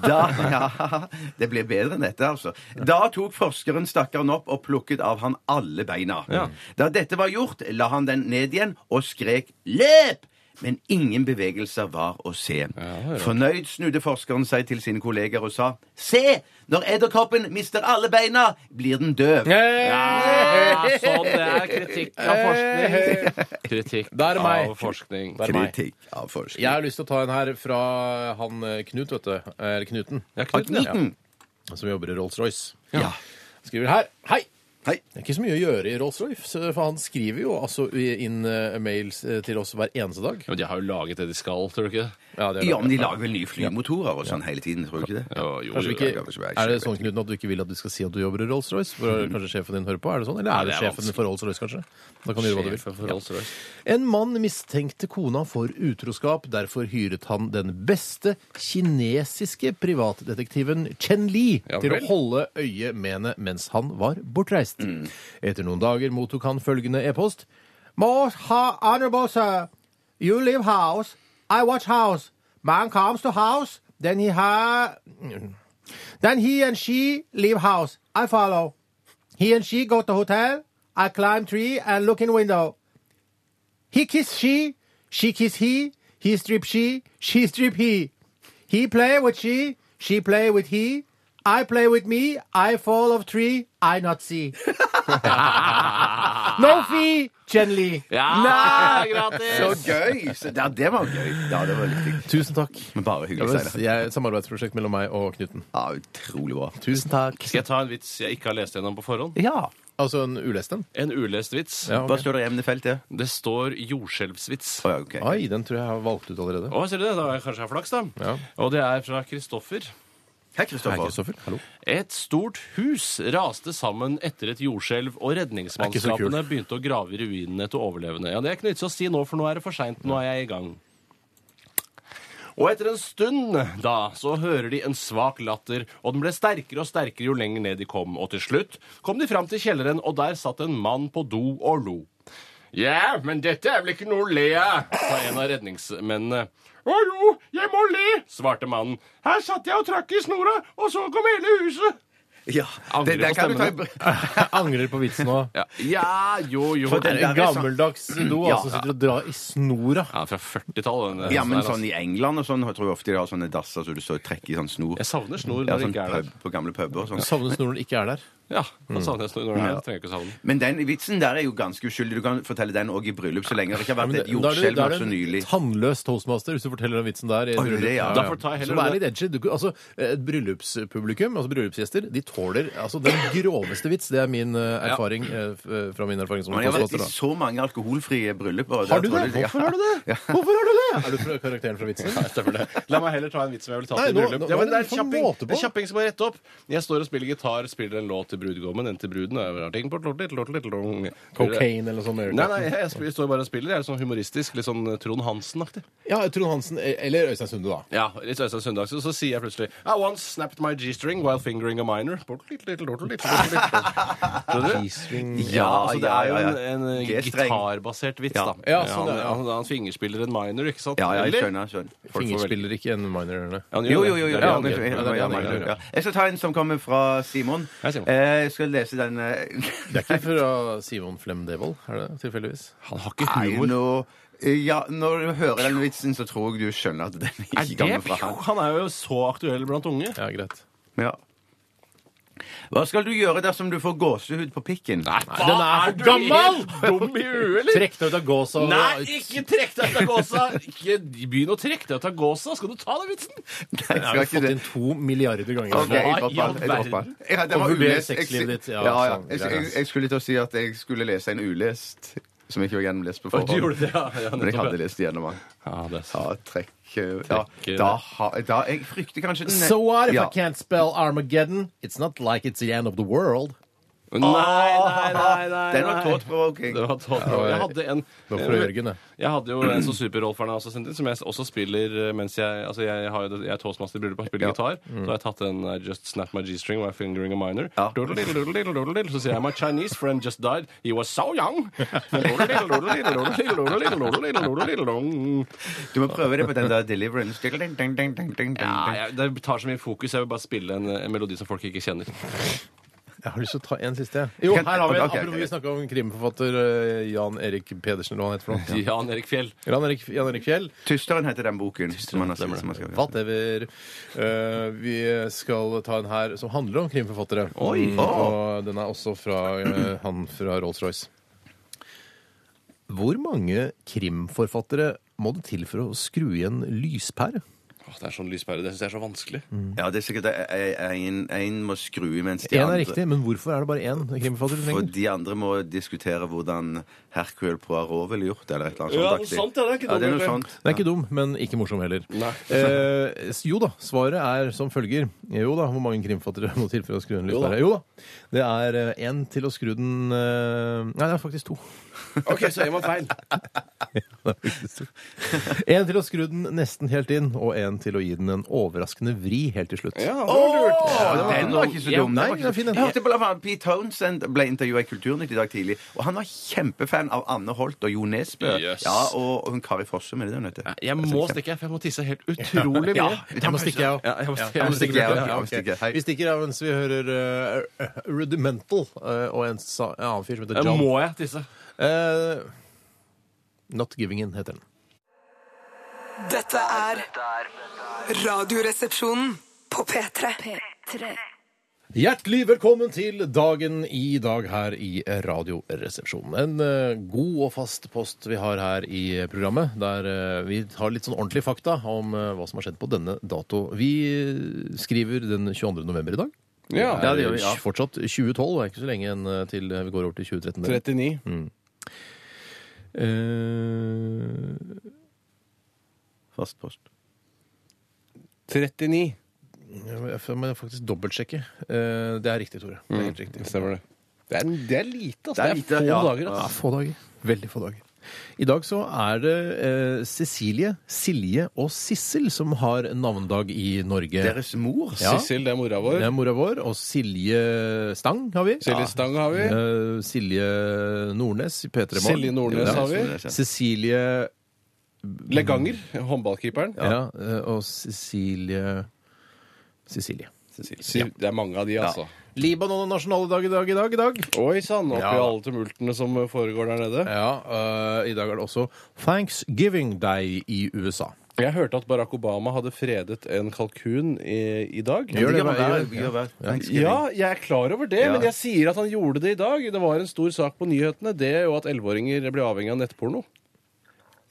Da, (laughs) ja, det ble bedre enn dette, altså. Da tok forskeren stakkaren opp og plukket av han alle beina. Da dette var gjort, la han den ned igjen og skrek 'løp'! Men ingen bevegelser var å se. Fornøyd snudde forskeren seg til sine kolleger og sa 'Se! Når edderkoppen mister alle beina, blir den døv'.
Ja, sånn det er kritikk av forskning. (laughs) Kritikk
Da er det meg.
av forskning.
Det er meg.
Kritikk av forskning.
Jeg har lyst til å ta en her fra han eh, Knut, vet du. Eller Knuten.
Ja, Knuten, ja.
Som jobber i Rolls-Royce.
Ja.
Skriver her. Hei!
Hei.
Det er ikke så mye å gjøre i Rolls-Royce, eh, for han skriver jo altså i- inn eh, mails eh, til oss hver eneste dag.
Ja, men de har jo laget det de skal, tror du ikke? det?
Ja, det er
Ja, men de
det.
lager vel nye flymotorer og sånn hele tiden, tror du ikke det?
Jo, jo,
Kanskje vi
jo,
Ja, det
ikke,
er
er det sånn Knuten, at du ikke vil at du skal si at du jobber i Rolls-Royce? For Kanskje sjefen din hører på? Er det sånn? Eller
Mm. Nei,
er det
det er
sjefen for Rolls-Royce, kanskje? Da kan du gjøre hva du
Sjefen for
vil. Ja.
Rolls-Royce.
En mann mistenkte kona for utroskap. Derfor hyret han den beste kinesiske privatdetektiven Chen Li
Ja
til å
vel.
holde øye med henne mens han var bortreist.
Mm.
Etter noen dager mottok han følgende e-post. Most ha anabosa. You live house. I watch house. Man comes to house. Then he ha... Then he and she leave house. I follow. He and she go to hotel. I climb tree and look in window. He kiss she, she kiss he, he strip she, she (laughs) strip he. He play with she, she play with he. I play with me, I fall of tree, I not see. no fee, Chen Li.
Ja, gratis!
Så gøy! Så, ja, det var gøy. Ja, det var litt digg.
Tusen takk.
Men bare hyggelig, Steinar.
et samarbeidsprosjekt mellom meg og Knuten.
Ja, utrolig bra.
Tusen takk.
Skal jeg ta en vits jeg ikke har lest gjennom på forhånd?
Ja.
Altså en ulest en?
En ulest vits.
Ja,
Hva står det i emnefeltet?
Det står jordskjelvsvits.
Å, ja, ok.
Oi, den tror jeg jeg har valgt ut allerede.
Å, ser du det? Da har jeg kanskje hatt flaks, da.
Ja.
Og det er fra Kristoffer.
Hei, Kristoffer.
Hallo.
Et stort hus raste sammen etter et jordskjelv, og redningsmannskapene begynte å grave i ruinene etter overlevende. Ja, Det er ikke noe vits å si nå, for nå er det for seint. Nå er jeg i gang. Og etter en stund, da, så hører de en svak latter, og den ble sterkere og sterkere jo lenger ned de kom, og til slutt kom de fram til kjelleren, og der satt en mann på do og lo. Ja, men dette er vel ikke noe å le av, sa en av redningsmennene. Å jo, jeg må le, svarte mannen. Her satt jeg og trakk i snora, og så kom hele huset.
Ja,
Angrer
den, den
på
kan du ta i
stemmen.
br- (laughs)
Jeg angrer på vitsen nå.
Ja, jo, jo.
For
Det
den
er en
der er sånn-
gammeldags do
Ja.
altså, som sitter og drar i snora.
Ja, fra 40-tallet. den-
Ja, men
den der, altså.
sånn i England og sånn jeg tror jeg ofte de har sånne dasser så du står og trekker i sånn snor.
Jeg savner snor
Ja,
når det
sånn
ikke er
pub,
der.
på gamle puber og sånn.
Savner snor når den ikke er der.
Ja, da savner jeg snor når det er der. Trenger jeg ikke savne den.
Men den vitsen der er jo ganske uskyldig. Du kan fortelle den òg i bryllup, så lenge det ikke har
Men
vært et
det- da er du-
jordskjelv
da
så
er du en
nylig.
Tannløs toastmaster, hvis du forteller den vitsen der. i et
Oi, det,
bryllup.
ja.
Da får ta heller
Som er
det.
litt edgy. Du, altså, et bryllupspublikum, altså bryllupsgjester, de tåler altså, (coughs) den groveste vits. Det er min eh, erfaring eh, f- eh, fra min erfaring som
Men jeg har vært
toastmaster.
i
da.
så mange alkoholfrie bryllup. og der
Har du
tror jeg-
det? Hvorfor har du det? Hvorfor har du det? Er du fra karakteren fra (laughs) vitsen?
La meg heller ta en vits som jeg ville tatt
Nei,
i
nå-
bryllup.
nå-
Ja, men
nå
det
er
er
det
en kjapping,
måte på.
en kjapping som må rette opp. Jeg står og spiller gitar, spiller en låt i brudgommen enn til bruden. og jeg bare har ting på tlottlitt, tlottlitt, tlottlitt.
Cocaine eller noe sånt.
Nei, nei, jeg, jeg, jeg står bare og spiller. Jeg er sånn humoristisk, litt sånn Trond Hansen-aktig.
Ja, Trond Hansen eh, eller Øystein Sunde, da.
Ja, litt Øystein Søndag, så, så sier jeg plutselig I once snapped my G-string while fingering a minor. Tlottlitt, tlottlitt, tlottlitt, tlottlitt. Skjønner du? Ja, altså det er jo
ja, ja.
en, en
G-streng.
gitarbasert vits,
Ja.
da.
Ja, sånn
han,
er det, ja.
han, han fingerspiller en minor, ikke sant?
Ja, ja, jeg
Eller?
skjønner. jeg skjønner.
Folk får vel-
Fingerspiller ikke en minor. eller?
Ja, han gjør
Jo,
det.
jo, jo. jo,
Det er det
ja,
han
men-
gjør.
ja,
Ja, det er det
ja,
han gjør,
ja.
ja.
Jeg skal ta en som kommer fra Simon.
Hei, Simon.
Eh, Jeg skal lese den eh,
Det er ikke fra Simon Flem Devold, er det tilfeldigvis?
Han har ikke
Nei,
humor.
nå ja, Når du hører den vitsen, så tror jeg du skjønner at den ikke kommer fra han.
Han er jo så aktuell blant unge.
Ja, greit.
Ja. Hva skal du gjøre dersom du får gåsehud på pikken?
Hva
den er for gammel!
helt Dum i huet, eller?
Trekk deg ut av gåsa. og-
Nei, ikke trekk deg ut av gåsa! Ikke begynn å trekke deg ut av gåsa! Skal du ta den vitsen?
Nei, jeg
Jeg har
skal
jo
ikke
fått
det.
inn to milliarder ganger.
Ok, jeg
Hva i
dropper
all
den. Jeg dropper den. Jeg hadde-
Og
den var
vurderer
ulest. Jeg-
sexlivet ditt, ja,
Ja, ja.
sånn,
Jeg,
greit.
jeg, jeg skulle til å si at jeg skulle lese en ulest som ikke var gjennomlest på
Å, Du
forhånd.
gjorde det, ja. ja,
Men jeg
nettopp,
hadde lest gjennom den.
ja. ja det er sant.
Ja, trekk eh, ja,
Trekk, eh,
da, ha, da Jeg frykter kanskje den
So what if
ja.
I can't spell Armageddon? It's not like it's the end of the world.
Nei, nei, nei, nei.
Den var
nei.
tåtprovoking.
Det var tått. Jeg hadde en
Det var fra Jørgen, det.
Jeg hadde jo en som superrolferen har også sendt inn, som jeg også spiller eh, mens jeg Altså, jeg, har jo det- jeg er toastmaster i bryllup og spiller
Ja.
gitar. Så har jeg tatt en I Just Snap My G-string while fingering a minor.
Ja.
Doodle-diddle, doodle-diddle, doodle-diddle. Så sier jeg My Chinese friend just died. He was so young. Doodle-diddle, doodle-diddle, doodle-diddle, doodle-diddle, doodle-diddle, doodle-diddle.
Du må prøve det på den der deliverance. Ding, ding, ding, ding, ding,
Ja,
ding.
jeg, det tar så mye fokus. Jeg vil bare spille en, en melodi som folk ikke kjenner.
Jeg har lyst til å ta en siste. jeg. Jo,
Kan-
her har vi en.
ok, ok,
Apropos vi
ok.
snakka om krimforfatter eh, Jan Erik Pedersen, eller hva han heter for noe.
Jan Erik Fjell.
Jan Erik, Jan Erik Fjell.
Tysteren heter den boken. Som man har, som man skal,
Whatever. Eh, vi skal ta en her som handler om krimforfattere. Mm, Og den er også fra eh, han fra Rolls-Royce. Hvor mange krimforfattere må det til for å skru igjen lyspære?
Åh, det er sånn lyspære. Det syns jeg er så vanskelig.
ja, det er sikkert eh, én må skru i mens de
Én er
andre
riktig, men hvorfor er det bare én krimforfatter du
For
trenger?
de andre må diskutere hvordan Hercule Poirot ville gjort det, eller et eller annet
Ja,
sånt.
noe
aktig.
sånt, ja, det er ikke
ja, det er
dumt,
noe
egentlig.
sånt.
Den er ikke dum, men ikke morsom heller. Eh, s- jo da, svaret er som følger. Jo da, hvor mange krimfattere må til for å skru den
Jo da.
lyspæra? Jo da. Det er én til å skru den eh, Nei, det er
(laughs)
faktisk to.
OK, så gjør man feil.
En til å skru den nesten helt inn, og en til å gi den en overraskende vri helt til slutt.
Ja,
Å, den var ikke så dum.
nei,
var ikke
den er
så-
fin, den.
Jeg hørte på blant annet Pete Townsend ble intervjua i Kulturnytt i dag tidlig, og han var kjempefan av Anne Holt og Jo Nesbø.
Yes.
Ja, og, og hun Kari Fossum, er det det hun heter? Altså,
Jeg må stikke, for jeg må tisse
(laughs)
helt utrolig mye.
Ja,
Jeg må stikke, jeg òg.
Ja, jeg må stikke,
jeg må stikke, jeg også.
Ja, ok.
Jeg må stikke. Hei.
Vi stikker av mens vi hører eh, eh, Rudimental eh, og en, sa, en annen fyr som heter
Eh,
John.
Må jeg tisse?
Eh, Not Giving In heter den.
Dette er Radioresepsjonen på P3.
P3.
Hjertelig velkommen til dagen i dag her i Radioresepsjonen. En eh, god og fast post vi har her i programmet, der eh, vi har litt sånn ordentlige fakta om eh, hva som har skjedd på denne dato. Vi eh, skriver den 22. november i dag.
Ja,
det er fortsatt 2012, det er ikke så lenge igjen eh, til vi går over til 2013.
39.
Eh,
Fast post.
39.
jeg må faktisk dobbeltsjekke. Eh, det er riktig, Tore. Det er helt riktig.
Stemmer det. Det er, det er lite, altså.
Det er lite,
få
ja.
dager.
Ja,
Altså.
få dager. Veldig få dager. I dag så er det eh, Cecilie, Silje og Sissel som har navnedag i Norge.
Deres mor?
Ja.
Sissel, det er mora vår.
Det er mora vår. Og Silje Stang har vi.
Silje Stang har vi.
Eh, Silje Nordnes i P3 Morgen.
Silje Nordnes
Ja.
har vi.
Cecilie
Leganger, håndballkeeperen.
ja. eh, og Cecilie Cecilie.
Siv- Det er mange av de, altså.
Libanon og nasjonale dag i dag i dag. i dag.
Oi sann, oppi
Ja.
alle tumultene som foregår der nede.
Ja, eh, I dag er det også Thanksgiving Day i USA.
Jeg hørte at Barack Obama hadde fredet en kalkun i, i
Gjør
dag.
det,
Gjør
gjør
hver-
det.
gjør hver Thanksgiving.
Ja, jeg er klar over det,
Ja.
men jeg sier at han gjorde det i dag. Det var en stor sak på nyhetene, det og at 11-åringer blir avhengig av nettporno.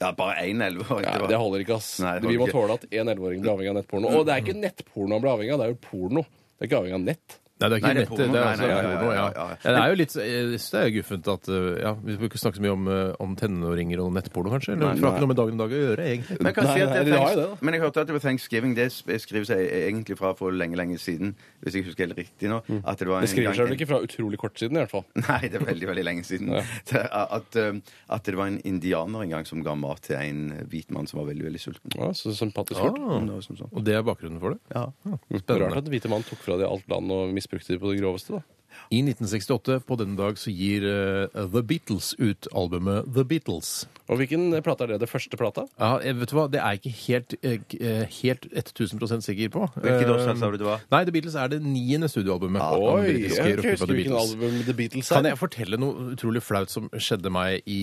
Ja, bare én elleveåring.
Ja, det holder ikke, ass.
Nei, det holder
Vi må
ikke.
tåle at en 11-åring blir avhengig av nettporno. Og det er ikke nettporno han blir avhengig av, det er jo porno. Det er ikke avhengig av nett.
Nei, det er ikke
Nei, det er
nett, det
porno.
er
Nei,
altså
nei, ja, ja,
porno, ja.
ja, ja.
Ja, Det er jo litt eh, jeg synes det er jo guffent at eh, ja, Vi bør ikke snakke så mye om, eh, om tenåringer og nettporno, kanskje? Eller, for det har ikke noe med dagen i dag å gjøre, egentlig.
Men jeg, kan
Nei,
si at
nei,
det er
de har
thanks-
jo det, da.
men jeg hørte at det var thanksgiving. Det sp- skriver seg egentlig fra for lenge, lenge siden. Hvis jeg husker helt riktig nå.
Mm.
At det var en
Det skriver
gang-
seg vel ikke fra utrolig kort siden, i hvert fall.
(laughs) Nei, det er veldig, veldig lenge siden. (laughs) Det er At, um, at det var en indianer en gang som ga mat til en hvit mann som var veldig, veldig sulten.
Ja, så sympatisk gjort.
Ah,
Noe som sånn.
og det er bakgrunnen for det?
Ja.
Rart
Spennende.
at hvite mann tok fra de alt land og misbrukte de på det groveste, da.
I 1968, på denne dag, så gir eh, The Beatles ut albumet The Beatles.
Og hvilken plate er det? Det første plata?
Ja, jeg- vet du hva, Det er jeg ikke helt, eh, k- eh, helt 1000 sikker på. Eh,
Hvilket årstall sa du det var? Ah,
Nei, The Beatles er det niende studioalbumet. av den britiske
jeg
rockgruppa
husker
The
hvilken
Beatles.
album The Beatles er.
Kan jeg fortelle noe utrolig flaut som skjedde meg i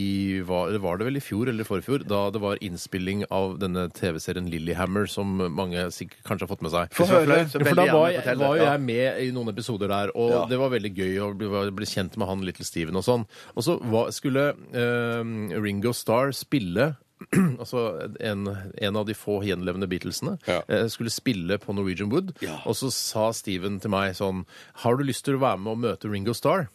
Var, var det vel i fjor eller i forfjor? Da det var innspilling av denne TV-serien Lillyhammer, som mange sikkert kanskje har fått med seg.
Få høre. Flaut, så
Ja, for
veldig
da var,
gjerne
jeg,
fortell det,
var jo
ja.
jeg med i noen episoder der, og
Ja.
det var veldig gøy å bli, bli kjent med han Little Steven og sånn. Og så var- skulle eh, Ringo Starr spille (clears throat) Altså en, en av de få gjenlevende Beatlesene
Ja.
eh, skulle spille på Norwegian Wood. Og så sa Steven til meg sånn Har du lyst til å være med og møte Ringo Starr?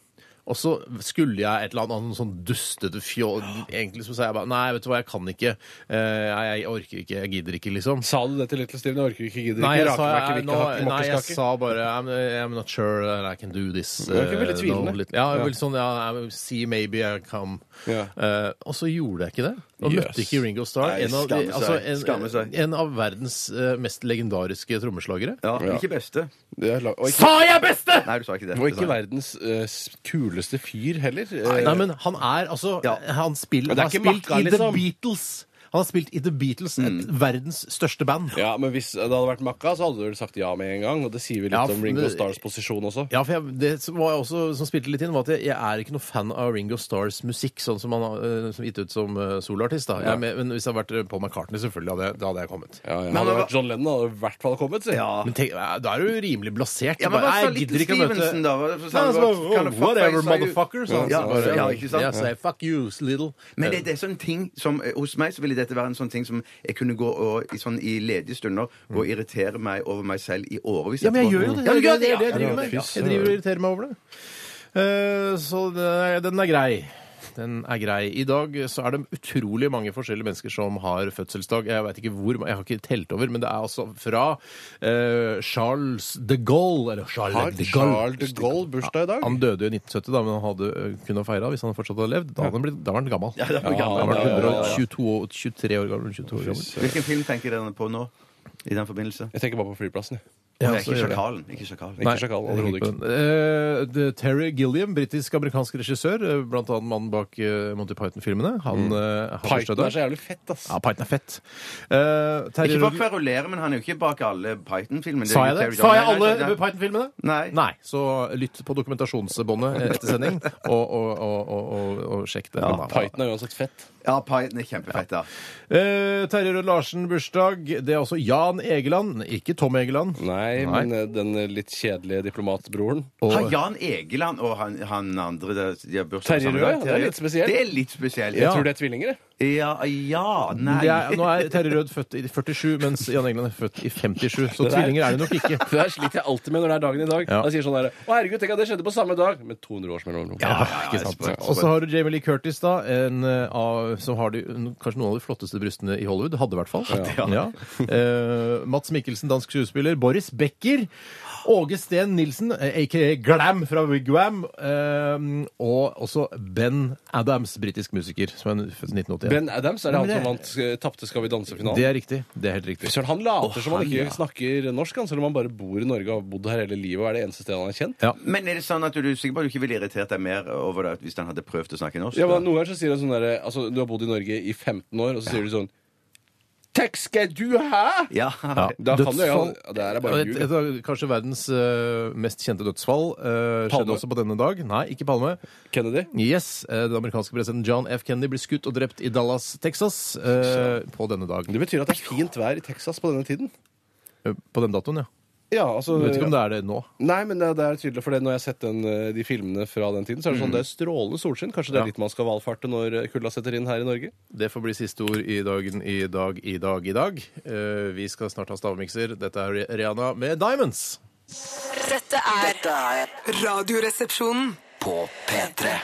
Og så skulle jeg et eller annet annet sånn dustete fjoll Egentlig så sa jeg bare Nei, vet du hva, jeg kan ikke. Eh, jeg, jeg orker ikke. Jeg gidder ikke, liksom.
Sa du det til Little Steven? Jeg orker ikke, gidder
Nei,
ikke,
jeg
raker
sa,
meg ikke,
jeg,
vil
nå,
ikke, hakke
nei, jeg
makkeskake.
sa bare I'm, I'm not sure that I can do this.
Det virker veldig
eh,
tvilende.
no, litt- ja, jeg
Ja.
vil sånn, ja, I will see maybe I come.
Ja.
Eh, og så gjorde jeg ikke det. Og
Yes.
møtte ikke Ringo Starr.
Nei,
En, av de-
skamme seg. Skamme
altså, en,
seg.
en av verdens eh, mest legendariske trommeslagere.
Ja, Ikke beste.
Det er la- Og ikke,
Sa jeg beste?!
Nei, du sa ikke det.
og ikke
Du sa-
verdens eh, s- kuleste fyr heller. Eh,
Nei, men han er altså
Ja.
Han spiller
Men det er
Han har
ikke
spilt
Macca,
i The
liksom. Mm.
Beatles. Han har spilt i The Beatles, et verdens største band.
Ja, men hvis eh, det hadde vært Makka, så hadde du vel sagt ja med en gang. Og det sier vi litt
Ja,
om Ringo
men-
Stars posisjon også.
Ja, for jeg, det som, var jeg også, som spilte litt inn, var at jeg, jeg er ikke noe fan av Ringo Stars musikk, sånn som han har øh, som gitt ut som øh, soloartist. da. Jeg er med, men hvis det hadde vært øh, Paul McCartney, selvfølgelig, hadde jeg, da hadde jeg kommet.
Ja, ja.
Men
Hadde det
hva-
vært John Lennon, hadde det i hvert fall kommet. Si.
Ja.
Men tenk, eh, da er du rimelig blasert.
Ja, men
Bare,
hva sa
jeg
Little
gidder ikke å møte-
Stevenson da? Hva-
Nei,
sa han
altså,
bare, «Kan du fuck face, are
Whatever,
you?»
motherfucker, sa han.
Ja,
Så bare,
ja, ikke sant?
Jeg sa fuck you, little.
Men
Eh,
det, det er sånn ting som, eh, hos meg så ville dette være en sånn ting som jeg kunne gå og, i, sånn, i ledige stunder gå og irritere meg over meg selv i årevis.
Mm. Ja, men jeg
etterpå.
gjør jo det.
Ja, du
Det er
gjør
det
det,
jeg driver med.
fy
Jeg driver og irriterer meg over det. Eh, Så det er- den er grei. Den er grei. I dag så er det utrolig mange forskjellige mennesker som har fødselsdag. Jeg vet ikke hvor, ma- jeg har ikke telt over, men det er altså fra eh, Charles de Gaulle Eller Charles
Har
de Gaulle.
Charles de Gaulle bursdag i dag?
Han døde jo i 1970, da, men han hadde eh, kunne feira hvis han fortsatt hadde levd. Da, hadde han blitt, da var han gammel. Ja, da
han gammel.
var han
Ja, ja, ja, ja.
122 år- 23 år gammel. 22 år gammel.
Hvilken film tenker dere på nå? I den forbindelse?
Jeg tenker bare på flyplassen. jeg.
Ja,
Nei,
så
ikke
gjør det.
Sjakalen. Ikke sjakalen.
Ikke sjakal, overhodet ikke.
Eh, det- Terry Gilliam, britisk-amerikansk regissør, eh, blant annet mannen bak eh, Monty Python-filmene. Han eh, har bursdag i
Python
dag.
er så jævlig fett, altså. ass.
Ja, Python er fett. Eh, Terje
Ikke for å
Rødl-
kverulere, men han er jo ikke bak alle Python-filmene.
Sa jeg
er jo
det?
Terry
Sa jeg
Jones. Nei,
alle
nei, nei.
Python-filmene?
Nei.
Så lytt på dokumentasjonsbåndet etter sending, og, og, og, og, og, og sjekk det. Men, ja.
Python er uansett fett.
Ja, Python er kjempefett, da.
Eh, Terje Rød Larsen bursdag. Det er også Jan Egeland, ikke Tom Egeland.
Nei, men eh, den eh, litt kjedelige diplomatbroren.
Har Jan Egeland og han, han andre der, de har bursdag
Terje
sammen?
Rød, ja, det er litt spesielt.
Det er litt spesielt.
Jeg
Ja,
tror de er tvillinger, jeg.
ja, nei
Det er,
(laughs)
nå er Terje Rød født i 47, mens Jan Egeland er født i 57, så
Det der-
tvillinger er det nok ikke.
Det der sliter jeg alltid med når det er dagen i dag.
Ja.
Jeg sier sånn der, Å herregud, tenk at det skjedde på samme dag! Med 200 års mellomrom.
ikke sant? Og så har du Jamie Lee Curtis, da, en, eh, av, som har de, n- kanskje noen av de flotteste brystene i Hollywood. Hadde i hvert fall. Ja. Eh, Mats Mikkelsen, dansk skuespiller. Boris Becker. Åge Steen Nilsen, eh, aka Glam fra Wigwam. eh, og også Ben Adams, britisk musiker, som er født i 1981.
Ben Adams er det han som
Men det-
vant eh, Tapte Skal vi
Det
danse-finalen.
er riktig. Det er helt riktig.
Søren, Han later som han ikke snakker norsk, han, selv om han bare bor i Norge og har bodd her hele livet. og er det eneste stedet han er kjent.
Ja.
Men er det sånn at du er sikker på at du ikke ville irritert deg mer over det hvis han hadde prøvd å snakke norsk?
Ja,
da?
men Noen ganger så sier han sånn derre altså, Du har bodd i Norge i 15 år, og så sier du sånn Takk skal du ha!
ja. (laughs)
Ja.
Da kan du jo-
Dødsfall-
Ja, det her er bare
et,
ljug.
et av kanskje verdens eh, mest kjente dødsfall
Palme.
eh, skjedde også på denne dag. Nei, ikke Palme.
Kennedy.
Yes, eh, Den amerikanske presidenten John F. Kennedy ble skutt og drept i Dallas, Texas, eh, på denne dag.
Det betyr at det er fint vær i Texas på denne tiden.
Eh, På den datoen, ja.
Ja, altså...
Jeg vet ikke om det er det nå.
Nei, men det, det er tydelig, for det, når jeg har sett den, eh, de filmene fra den tiden, så er det sånn det er strålende solskinn. Kanskje det er dit man skal valfarte når eh, kulda setter inn her i Norge?
Det får bli siste ord i dagen i dag i dag i dag. Eh, Vi skal snart ha stavmikser. Dette er Rihanna med Diamonds.
Dette er
Dette er
Radioresepsjonen.
på P3.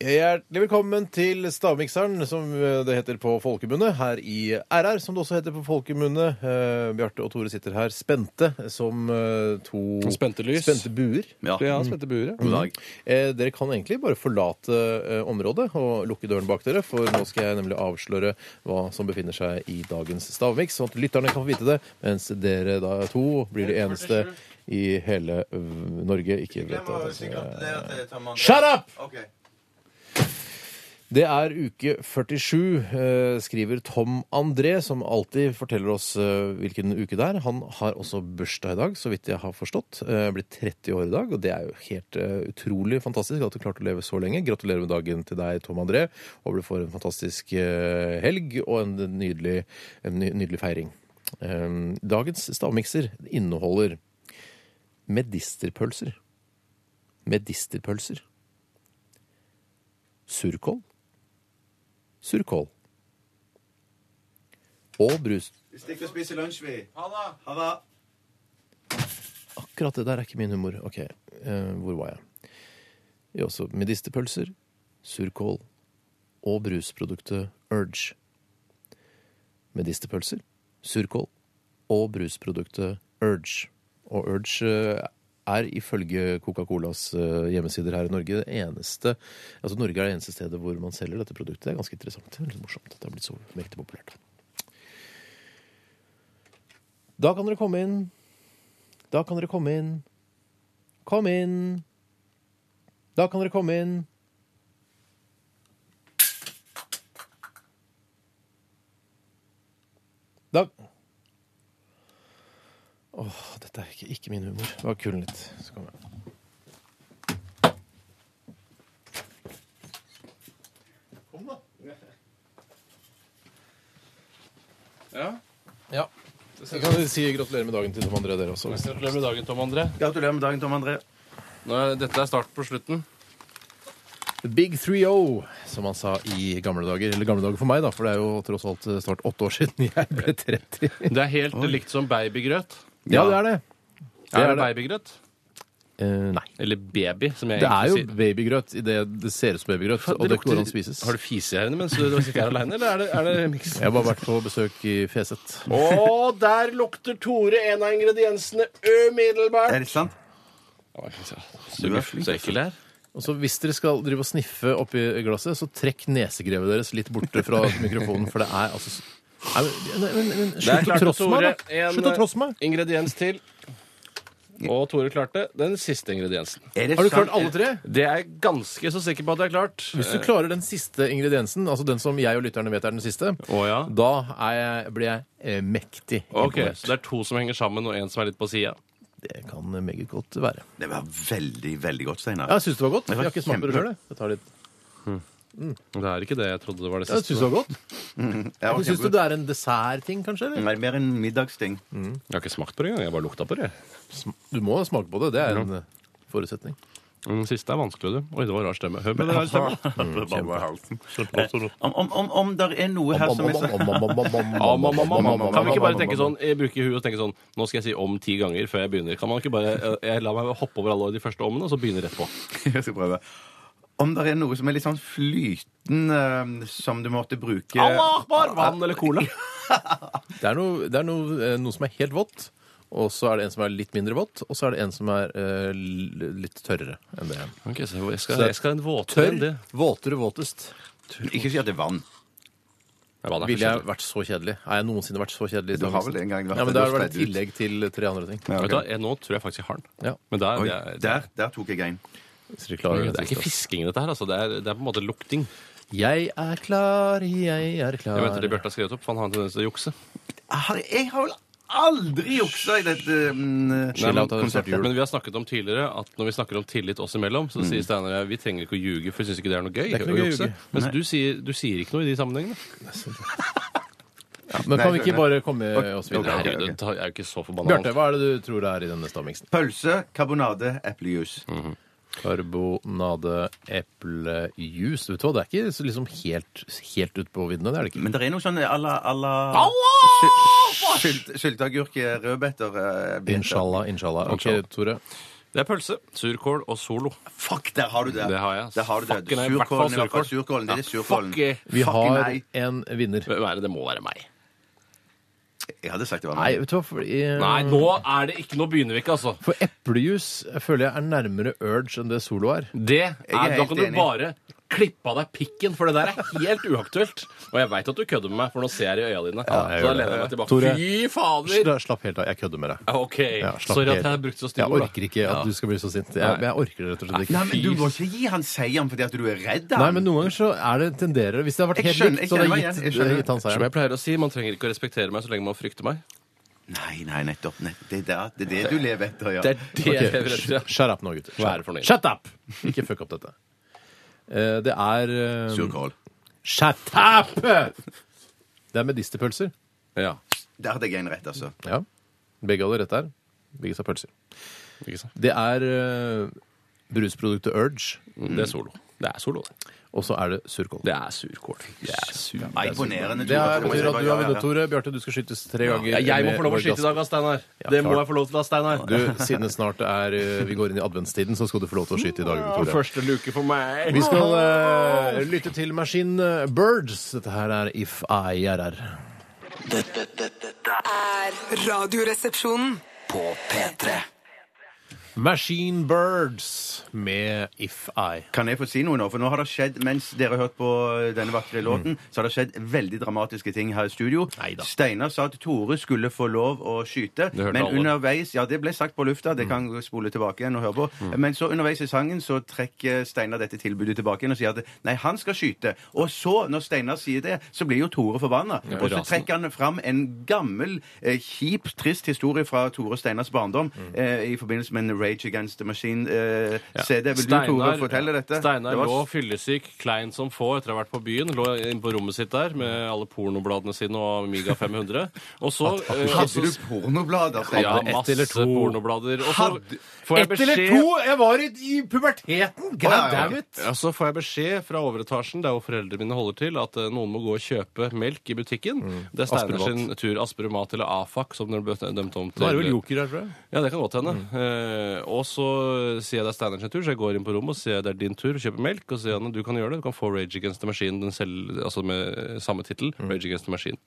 Hjertelig velkommen til Stavmikseren, som eh, det heter på folkemunne, her i RR, som det også heter på folkemunne. Eh, Bjarte og Tore sitter her spente som eh, to
Spente lys.
spente buer.
Ja, spente buer, ja.
Eh, dere kan egentlig bare forlate eh, området og lukke døren bak dere, for nå skal jeg nemlig avsløre hva som befinner seg i dagens stavmiks, sånn at lytterne kan få vite det, mens dere da to blir de eneste i hele ø, Norge ikke vet hva som er Shut up! Det er uke 47, eh, skriver Tom André, som alltid forteller oss eh, hvilken uke det er. Han har også bursdag i dag, så vidt jeg har forstått. Eh, Blitt 30 år i dag, og det er jo helt eh, utrolig fantastisk at du klarte å leve så lenge. Gratulerer med dagen til deg, Tom André. Håper du får en fantastisk eh, helg og en nydelig, en ny- nydelig feiring. Eh, Dagens stavmikser inneholder medisterpølser. Medisterpølser. Surkål. Surkål. Og brus.
Vi stikker og spiser lunsj, vi. Ha det.
Akkurat det der er ikke min humor. Ok, eh, hvor var jeg? Vi har også medisterpølser, surkål og brusproduktet Urge. Medisterpølser, surkål og brusproduktet Urge. Og Urge eh, er ifølge Coca-Colas eh, hjemmesider her i Norge det eneste Altså Norge er det eneste stedet hvor man selger dette produktet. Det er ganske interessant. Det er litt morsomt at det har blitt så mektig populært. Da kan dere komme inn da kan dere komme inn. Kom inn. Da kan dere komme inn. Da Åh, dette er ikke, ikke min humor. Bare kull litt, så kommer jeg.
ja.
Ja. Jeg kan si gratulerer med dagen til Tom André, dere også.
Gratulerer med dagen, Tom André.
Gratulerer med dagen, Tom André.
Nå er, dette er starten på slutten.
The Big 3-0, som han sa i gamle dager. Eller gamle dager for meg, da, for det er jo tross alt eh, snart åtte år siden jeg (laughs) ble 30.
Det er helt likt som babygrøt.
Ja, det er det.
er,
er
det babygrøt?
Eh, nei.
Eller baby, som jeg
Det er jo
egentlig sier.
babygrøt i det det ser ut som babygrøt, og det går an å spises.
Har du fise her inne mens du sitter her alene, eller er det, er det miks?
Jeg har bare vært på besøk i Feset.
(laughs) Å, der lukter Tore en av ingrediensene
Er
umiddelbart!
det sant?
Du er flink. altså. Så ekkel her.
Og så Hvis dere skal drive og sniffe oppi glasset, så trekk nesegrevet deres litt borte fra mikrofonen, for det er altså så- Nei, men- men, men, men,
Der
Slutt å
klarte
trosse meg, da!
Tore en-
Slutt å trosse meg!
Ingrediens til. Og Tore klarte den siste ingrediensen.
Er det
Har du
sant?
klart alle tre?
Det er jeg ganske så sikker på at jeg har klart.
Hvis du klarer den siste ingrediensen, altså den som jeg og lytterne vet er den siste,
Å, ja.
da er jeg, blir jeg eh, mektig
Ok,
imponert.
Så det er to som henger sammen, og en som er litt på sida.
Det kan meget godt være.
Det var veldig, veldig godt,
Ja,
Steinar.
jeg syns det var godt. Jeg har ikke smakt på det
kjempe-
sjøl, jeg. Jeg tar litt-
Det er ikke det jeg trodde det var det
Jeg
siste.
syns det var godt.
Ja, ok,
Syns du
god.
det er en dessertting, kanskje? eller?
Nei, mer en middagsting.
Jeg har ikke smakt på det engang. Jeg bare lukta på det.
Sm- Du må smake på det. Det er en eh, forutsetning.
Den Mm, siste er vanskelig, du. Oi, det var rar stemme. (laughs) Hør på den rar stemme. (laughs)
Om, om, om, om det er noe her som er så
Am, am, am, am, am, am. Kan vi ikke bare tenke sånn, eh, bruke huet og tenke sånn Nå skal jeg si om ti ganger før jeg begynner. Kan man ikke bare eh, jeg la meg hoppe over alle de første ommene, og så begynne rett på?
(laughs) Jeg skal prøve. Om det er noe som er litt sånn flytende eh, som du måtte bruke
Allah akbar! Vann eller cola?
Det er, noe, det er noe, eh, noe som er helt vått, og så er det en som er litt mindre vått, og så er det en som er eh, l- litt tørrere enn det.
Ok, så jeg skal, jeg skal en våtere
Tørr,
enn det.
våtere, våtest.
Ikke si at det er vann.
Nei, vann er
Ville jeg
forskjellig.
vært så kjedelig? Har jeg noensinne vært så kjedelig? i
Du har
Stavmiksen?
vel en gang vært
ja, men
det,
det.
du
var det i
spredde ut.
tillegg til tre andre ting.
Ja, ok.
Vet du hva, jeg- Nå tror jeg faktisk jeg har den.
Ja.
Men det er,
Oi,
det er, det er,
der, der tok jeg en.
Så dere klarer
det er ikke fisking, dette her. Altså. Det, er, det er på en måte lukting.
Jeg er klar, jeg er klar.
Jeg venter til Bjarte har skrevet opp, for han har en tendens til å jukse.
Jeg har, jeg har vel aldri juksa i dette mm,
Chill out, det er snart jul.
Men vi har snakket om tidligere at når vi snakker om tillit oss imellom, så sier Steinar og jeg vi trenger ikke å ljuge, for vi syns ikke det er noe gøy.
Mm. er ikke noe
å
gøy å
jukse.
ljuge.
Mens du sier, du sier ikke noe i de sammenhengene.
Men kan
Nei,
vi ikke bare komme oss
Ok,
videre?
ok.
Herregud, det er jo ikke så forbanna
Bjarte, hva er det du tror det er i denne stavmiksen?
Pølse, karbonade, eplejus.
Mm.
Karbonade, eplejus Vet du hva, det er ikke så liksom helt, helt ut på viddene, det er det ikke.
Men det er noe sånn à la à la
Allah!
Sy- Sylt- Sylteagurk, rødbeter eh, biter.
Inshallah, inshallah. Ok,
Inshallah.
Tore.
Det er pølse, surkål og Solo.
Fuck, der har du det.
Det har jeg.
Der har du det.
Fuck, nei, i hvert fall
Surkålen, i hvert fall surkålen. Det er surkålen.
Fuck, eh,
Vi
Fuck,
har
nei.
en vinner.
Hvem er det? Det må være meg.
Jeg hadde sagt det var
Nei,
meg.
vet du hva fordi, eh,
Nei, nå er det ikke Nå begynner vi ikke, altså.
For eplejus jeg føler jeg er nærmere urge enn det Solo er.
Det er,
er
Da
helt
kan du
enig.
bare klippe av deg pikken, for det der er helt uaktuelt. Og jeg veit at du kødder med meg, for nå ser jeg det i øya dine.
jeg
så da
gjør det.
lener jeg meg tilbake.
Tore,
Fy fader!
Sla- Slapp helt av. Jeg kødder med deg.
OK.
Ja, slapp
Sorry at
helt-
jeg brukte så
Jeg
stygge ord. da.
orker ikke at du skal bli så sint. Jeg,
Nei.
jeg orker det rett og slett ikke.
Nei, men Du må ikke gi han seieren fordi at du er redd
Nei,
han.
men noen ganger så er det tenderer Hvis det har vært
Jeg
helt
skjønner-
likt,
jeg
så hadde
kjenner meg
jeg
igjen, jeg
gitt,
skjønner.
eh, gitt han
Som
seieren.
jeg pleier å si, man trenger ikke å respektere meg så lenge man frykter meg.
Nei, nei, nettopp. Nett. Det, er det, det er det du lever etter, ja.
Det er det jeg lever
Ok,
etter. ja.
sh- Shut up nå, gutter.
Hva er det
Shut up.
for noe?
Shut up! Ikke fuck opp dette. Eh, Det er eh,
surkål.
Shut up! Det er medisterpølser.
Ja,
Der hadde jeg en rett, altså.
Ja. Begge hadde rett der. Begge sa pølser.
ikke sant?
Det er eh, brusproduktet Urge,
Det er solo. Det er solo, det.
og så er det surkål.
Det er surkål. Det er sur.
Nei, Imponerende.
Det er,
Tore.
betyr at du
Ja,
har
ja, ja.
vunnet, Tore. Bjarte, du skal skytes tre ganger.
Ja, jeg må
med
få lov å
vår
skyte i
gass.
dag, ass, Steinar.
Ja,
Det må
klart.
jeg få lov til, ass, Steinar.
Du, siden det snart er eh, vi går inn i adventstiden, så skal du få lov til å skyte i dag.
Ja,
Tore.
Første luke for meg.
Vi skal eh, lytte til Machine Birds. Dette her er If I Er Her.
Dette, dette, dette
er Radioresepsjonen.
på P3.
Machine Birds med If I.
Kan jeg få si noe nå? For nå har det skjedd, mens dere har hørt på eh, denne vakre låten,
Mm.
så har det skjedd veldig dramatiske ting her i studio.
Neida.
Steinar sa at Tore skulle få lov å skyte,
Det hørte
men
alle. Mm.
underveis Ja, det ble sagt på lufta, det kan vi spole tilbake igjen og høre på. Men så underveis i sangen så trekker Steinar dette tilbudet tilbake igjen og sier at nei, han skal skyte. Og så, når Steinar sier det, så blir jo Tore forbanna. og så
rasen.
trekker han fram en gammel, eh, kjip, trist historie fra Tore Steinars barndom
Mm.
eh, i forbindelse med en Rage Against the Machine-CD. Eh, CD. Vil du, Tore, fortelle dette?
Steinar
Det var-
lå fyllesyk, klein som få etter å ha vært på byen. Lå inne på rommet sitt der med alle pornobladene sine og Amiga 500. Og så eh,
Hadde
altså-
du pornoblader? Steinar?
ja, masse
eller to?
pornoblader. Og så får jeg
Ett eller
beskjed
to! Jeg var i, i puberteten! God
Ja, ja, ja.
damn it!
Ja, så får jeg beskjed fra overetasjen der hvor foreldrene mine holder til, at eh, noen må gå og kjøpe melk i butikken.
Mm.
Det er Steinar
Asperomat.
sin tur. Asperomat eller AFAC, som den ble dømt om til.
Da er det vel joker her, tror jeg.
Ja, det kan godt
Mm.
hende. Eh, og så sier jeg det er Steinar sin tur, så jeg går inn på rommet og sier det er din tur å kjøpe melk. Og så sier han du kan gjøre det, du kan få Rage Against the Machine den selv, altså med samme tittel.
Mm.
Rage Against the Machine.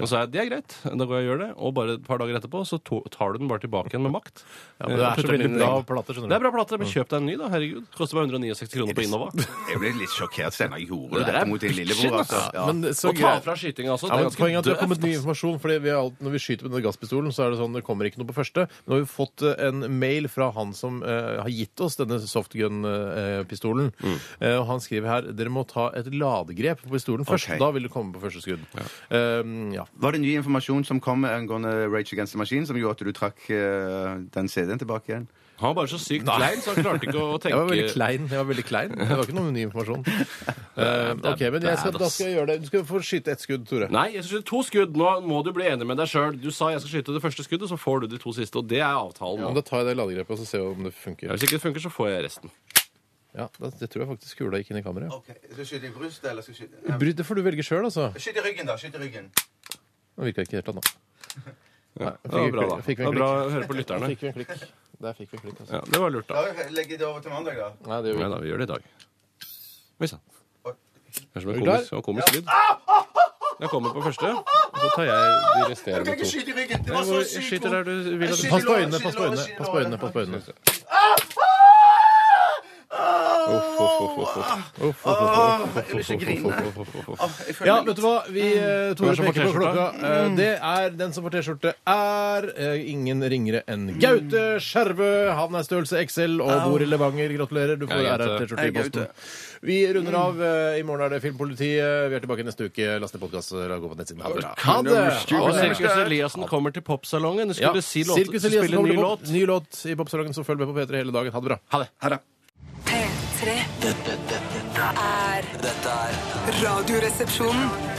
Og så sa jeg det er greit, da går jeg og gjør det. Og bare et par dager etterpå så to- tar du den bare tilbake igjen med makt.
men det
Eh,
er
og
så
putter den
veldig
inn i
bra
ringen.
plate, skjønner du. Mm.
Det er bra plate, men kjøp deg en ny, da. Herregud. Koster bare 169 kroner på Innova.
Jeg ble litt sjokkert, Steinar. Gjorde
Det
du
der
dette
er
mot din
bitchen,
lillebror? Altså.
ass.
Ja.
Men (laughs) så
Og ta
greit.
fra skytinga også.
Ja,
Det er
men
ganske
poenget er at det har
døvt.
kommet
altså.
ny
ass.
informasjon. fordi vi har alt, Når vi skyter med denne gasspistolen, så er det sånn det kommer ikke noe på første. Men nå har vi fått eh, en mail fra han som eh, har gitt oss denne softgun-pistolen.
Mm.
Eh, og han skriver her dere må ta et ladegrep på pistolen først.
Ok.
Da vil det komme på første skudd. Ehm, ja.
Var det ny informasjon som kom angående Rage Against the Machine, som gjorde at du trakk eh, den CD-en tilbake igjen?
Han var bare så sykt klein, så han klarte ikke
(laughs)
å tenke
Jeg var veldig klein. Jeg var veldig klein. Det var ikke noe ny
(laughs)
informasjon. Ehm, ok, men jeg skal, Da skal jeg gjøre det. Du skal få skyte ett skudd, Tore.
Nei, jeg skal skyte to skudd. Nå må du bli enig med deg sjøl. Du sa jeg skal skyte det første skuddet, så får du de to siste. Og det er avtalen.
Men
nå.
Da tar jeg det ladegrepet og så ser vi om det funker.
Ja, hvis ikke det funker, så får jeg resten.
Ja, da- Det tror jeg faktisk kula gikk inn i kammeret.
Ok, Skal jeg skyte i brystet, eller skal jeg skyte
Bry- Det får du velge sjøl, altså.
Skyt i ryggen, da. Skyt i ryggen.
Den virka ikke helt ennå. Nei,
Det var bra, da. Det
fikk vi en
var bra
klikk.
å høre på lytterne.
Fikk vi en klikk. Der fikk vi en klikk, altså.
Ja, det var lurt, da.
Legg det over til mandag, da.
Nei, det gjør vi
Nei
ikke.
da, vi gjør det i dag. Oi sann. Høres som en
Er du
komisk,
klar?
og komisk lyd. Jeg kommer på
(laughs)
første, og så tar jeg de resterende to.
skyte i ryggen! Det
Jeg må- jeg Skyter der du vil at du
Pass på øynene, pass på øynene. Pass på øynene, pass på øynene.
Uff, uff, uff,
Ah!
uff, uff.
Uff, uff, uff, uff.
Jeg vil ikke grine.
Uff, uff, uff, uff.
Ja, vet du hva? Vi eh, Tore
Hvem som får
peker på
T-skjorta?
klokka. Eh, Det er den som får T-skjorte, er eh, ingen ringere enn Gaute Skjervø. Han er størrelse XL og bor i Levanger. Gratulerer. Du får
Hei, Gaute.
RR-T-skjorte
Hei,
i posten.
Gaute.
Vi runder av. eh, I morgen er det Filmpolitiet. Vi er tilbake neste uke. Last ned podkast og gå på nettsiden. Ha det bra. Ha det!
Og Sirkus Eliassen kommer til popsalongen. Du
Ja,
skulle si låt,
Sirkus Eliassen
spille
kommer
ny
til
låt.
pop- ny låt i popsalongen, så følg med på P3 hele dagen. Ha det bra.
Ha det.
Ha det.
P3
Dette, dette, dette
er
Dette er
Radioresepsjonen.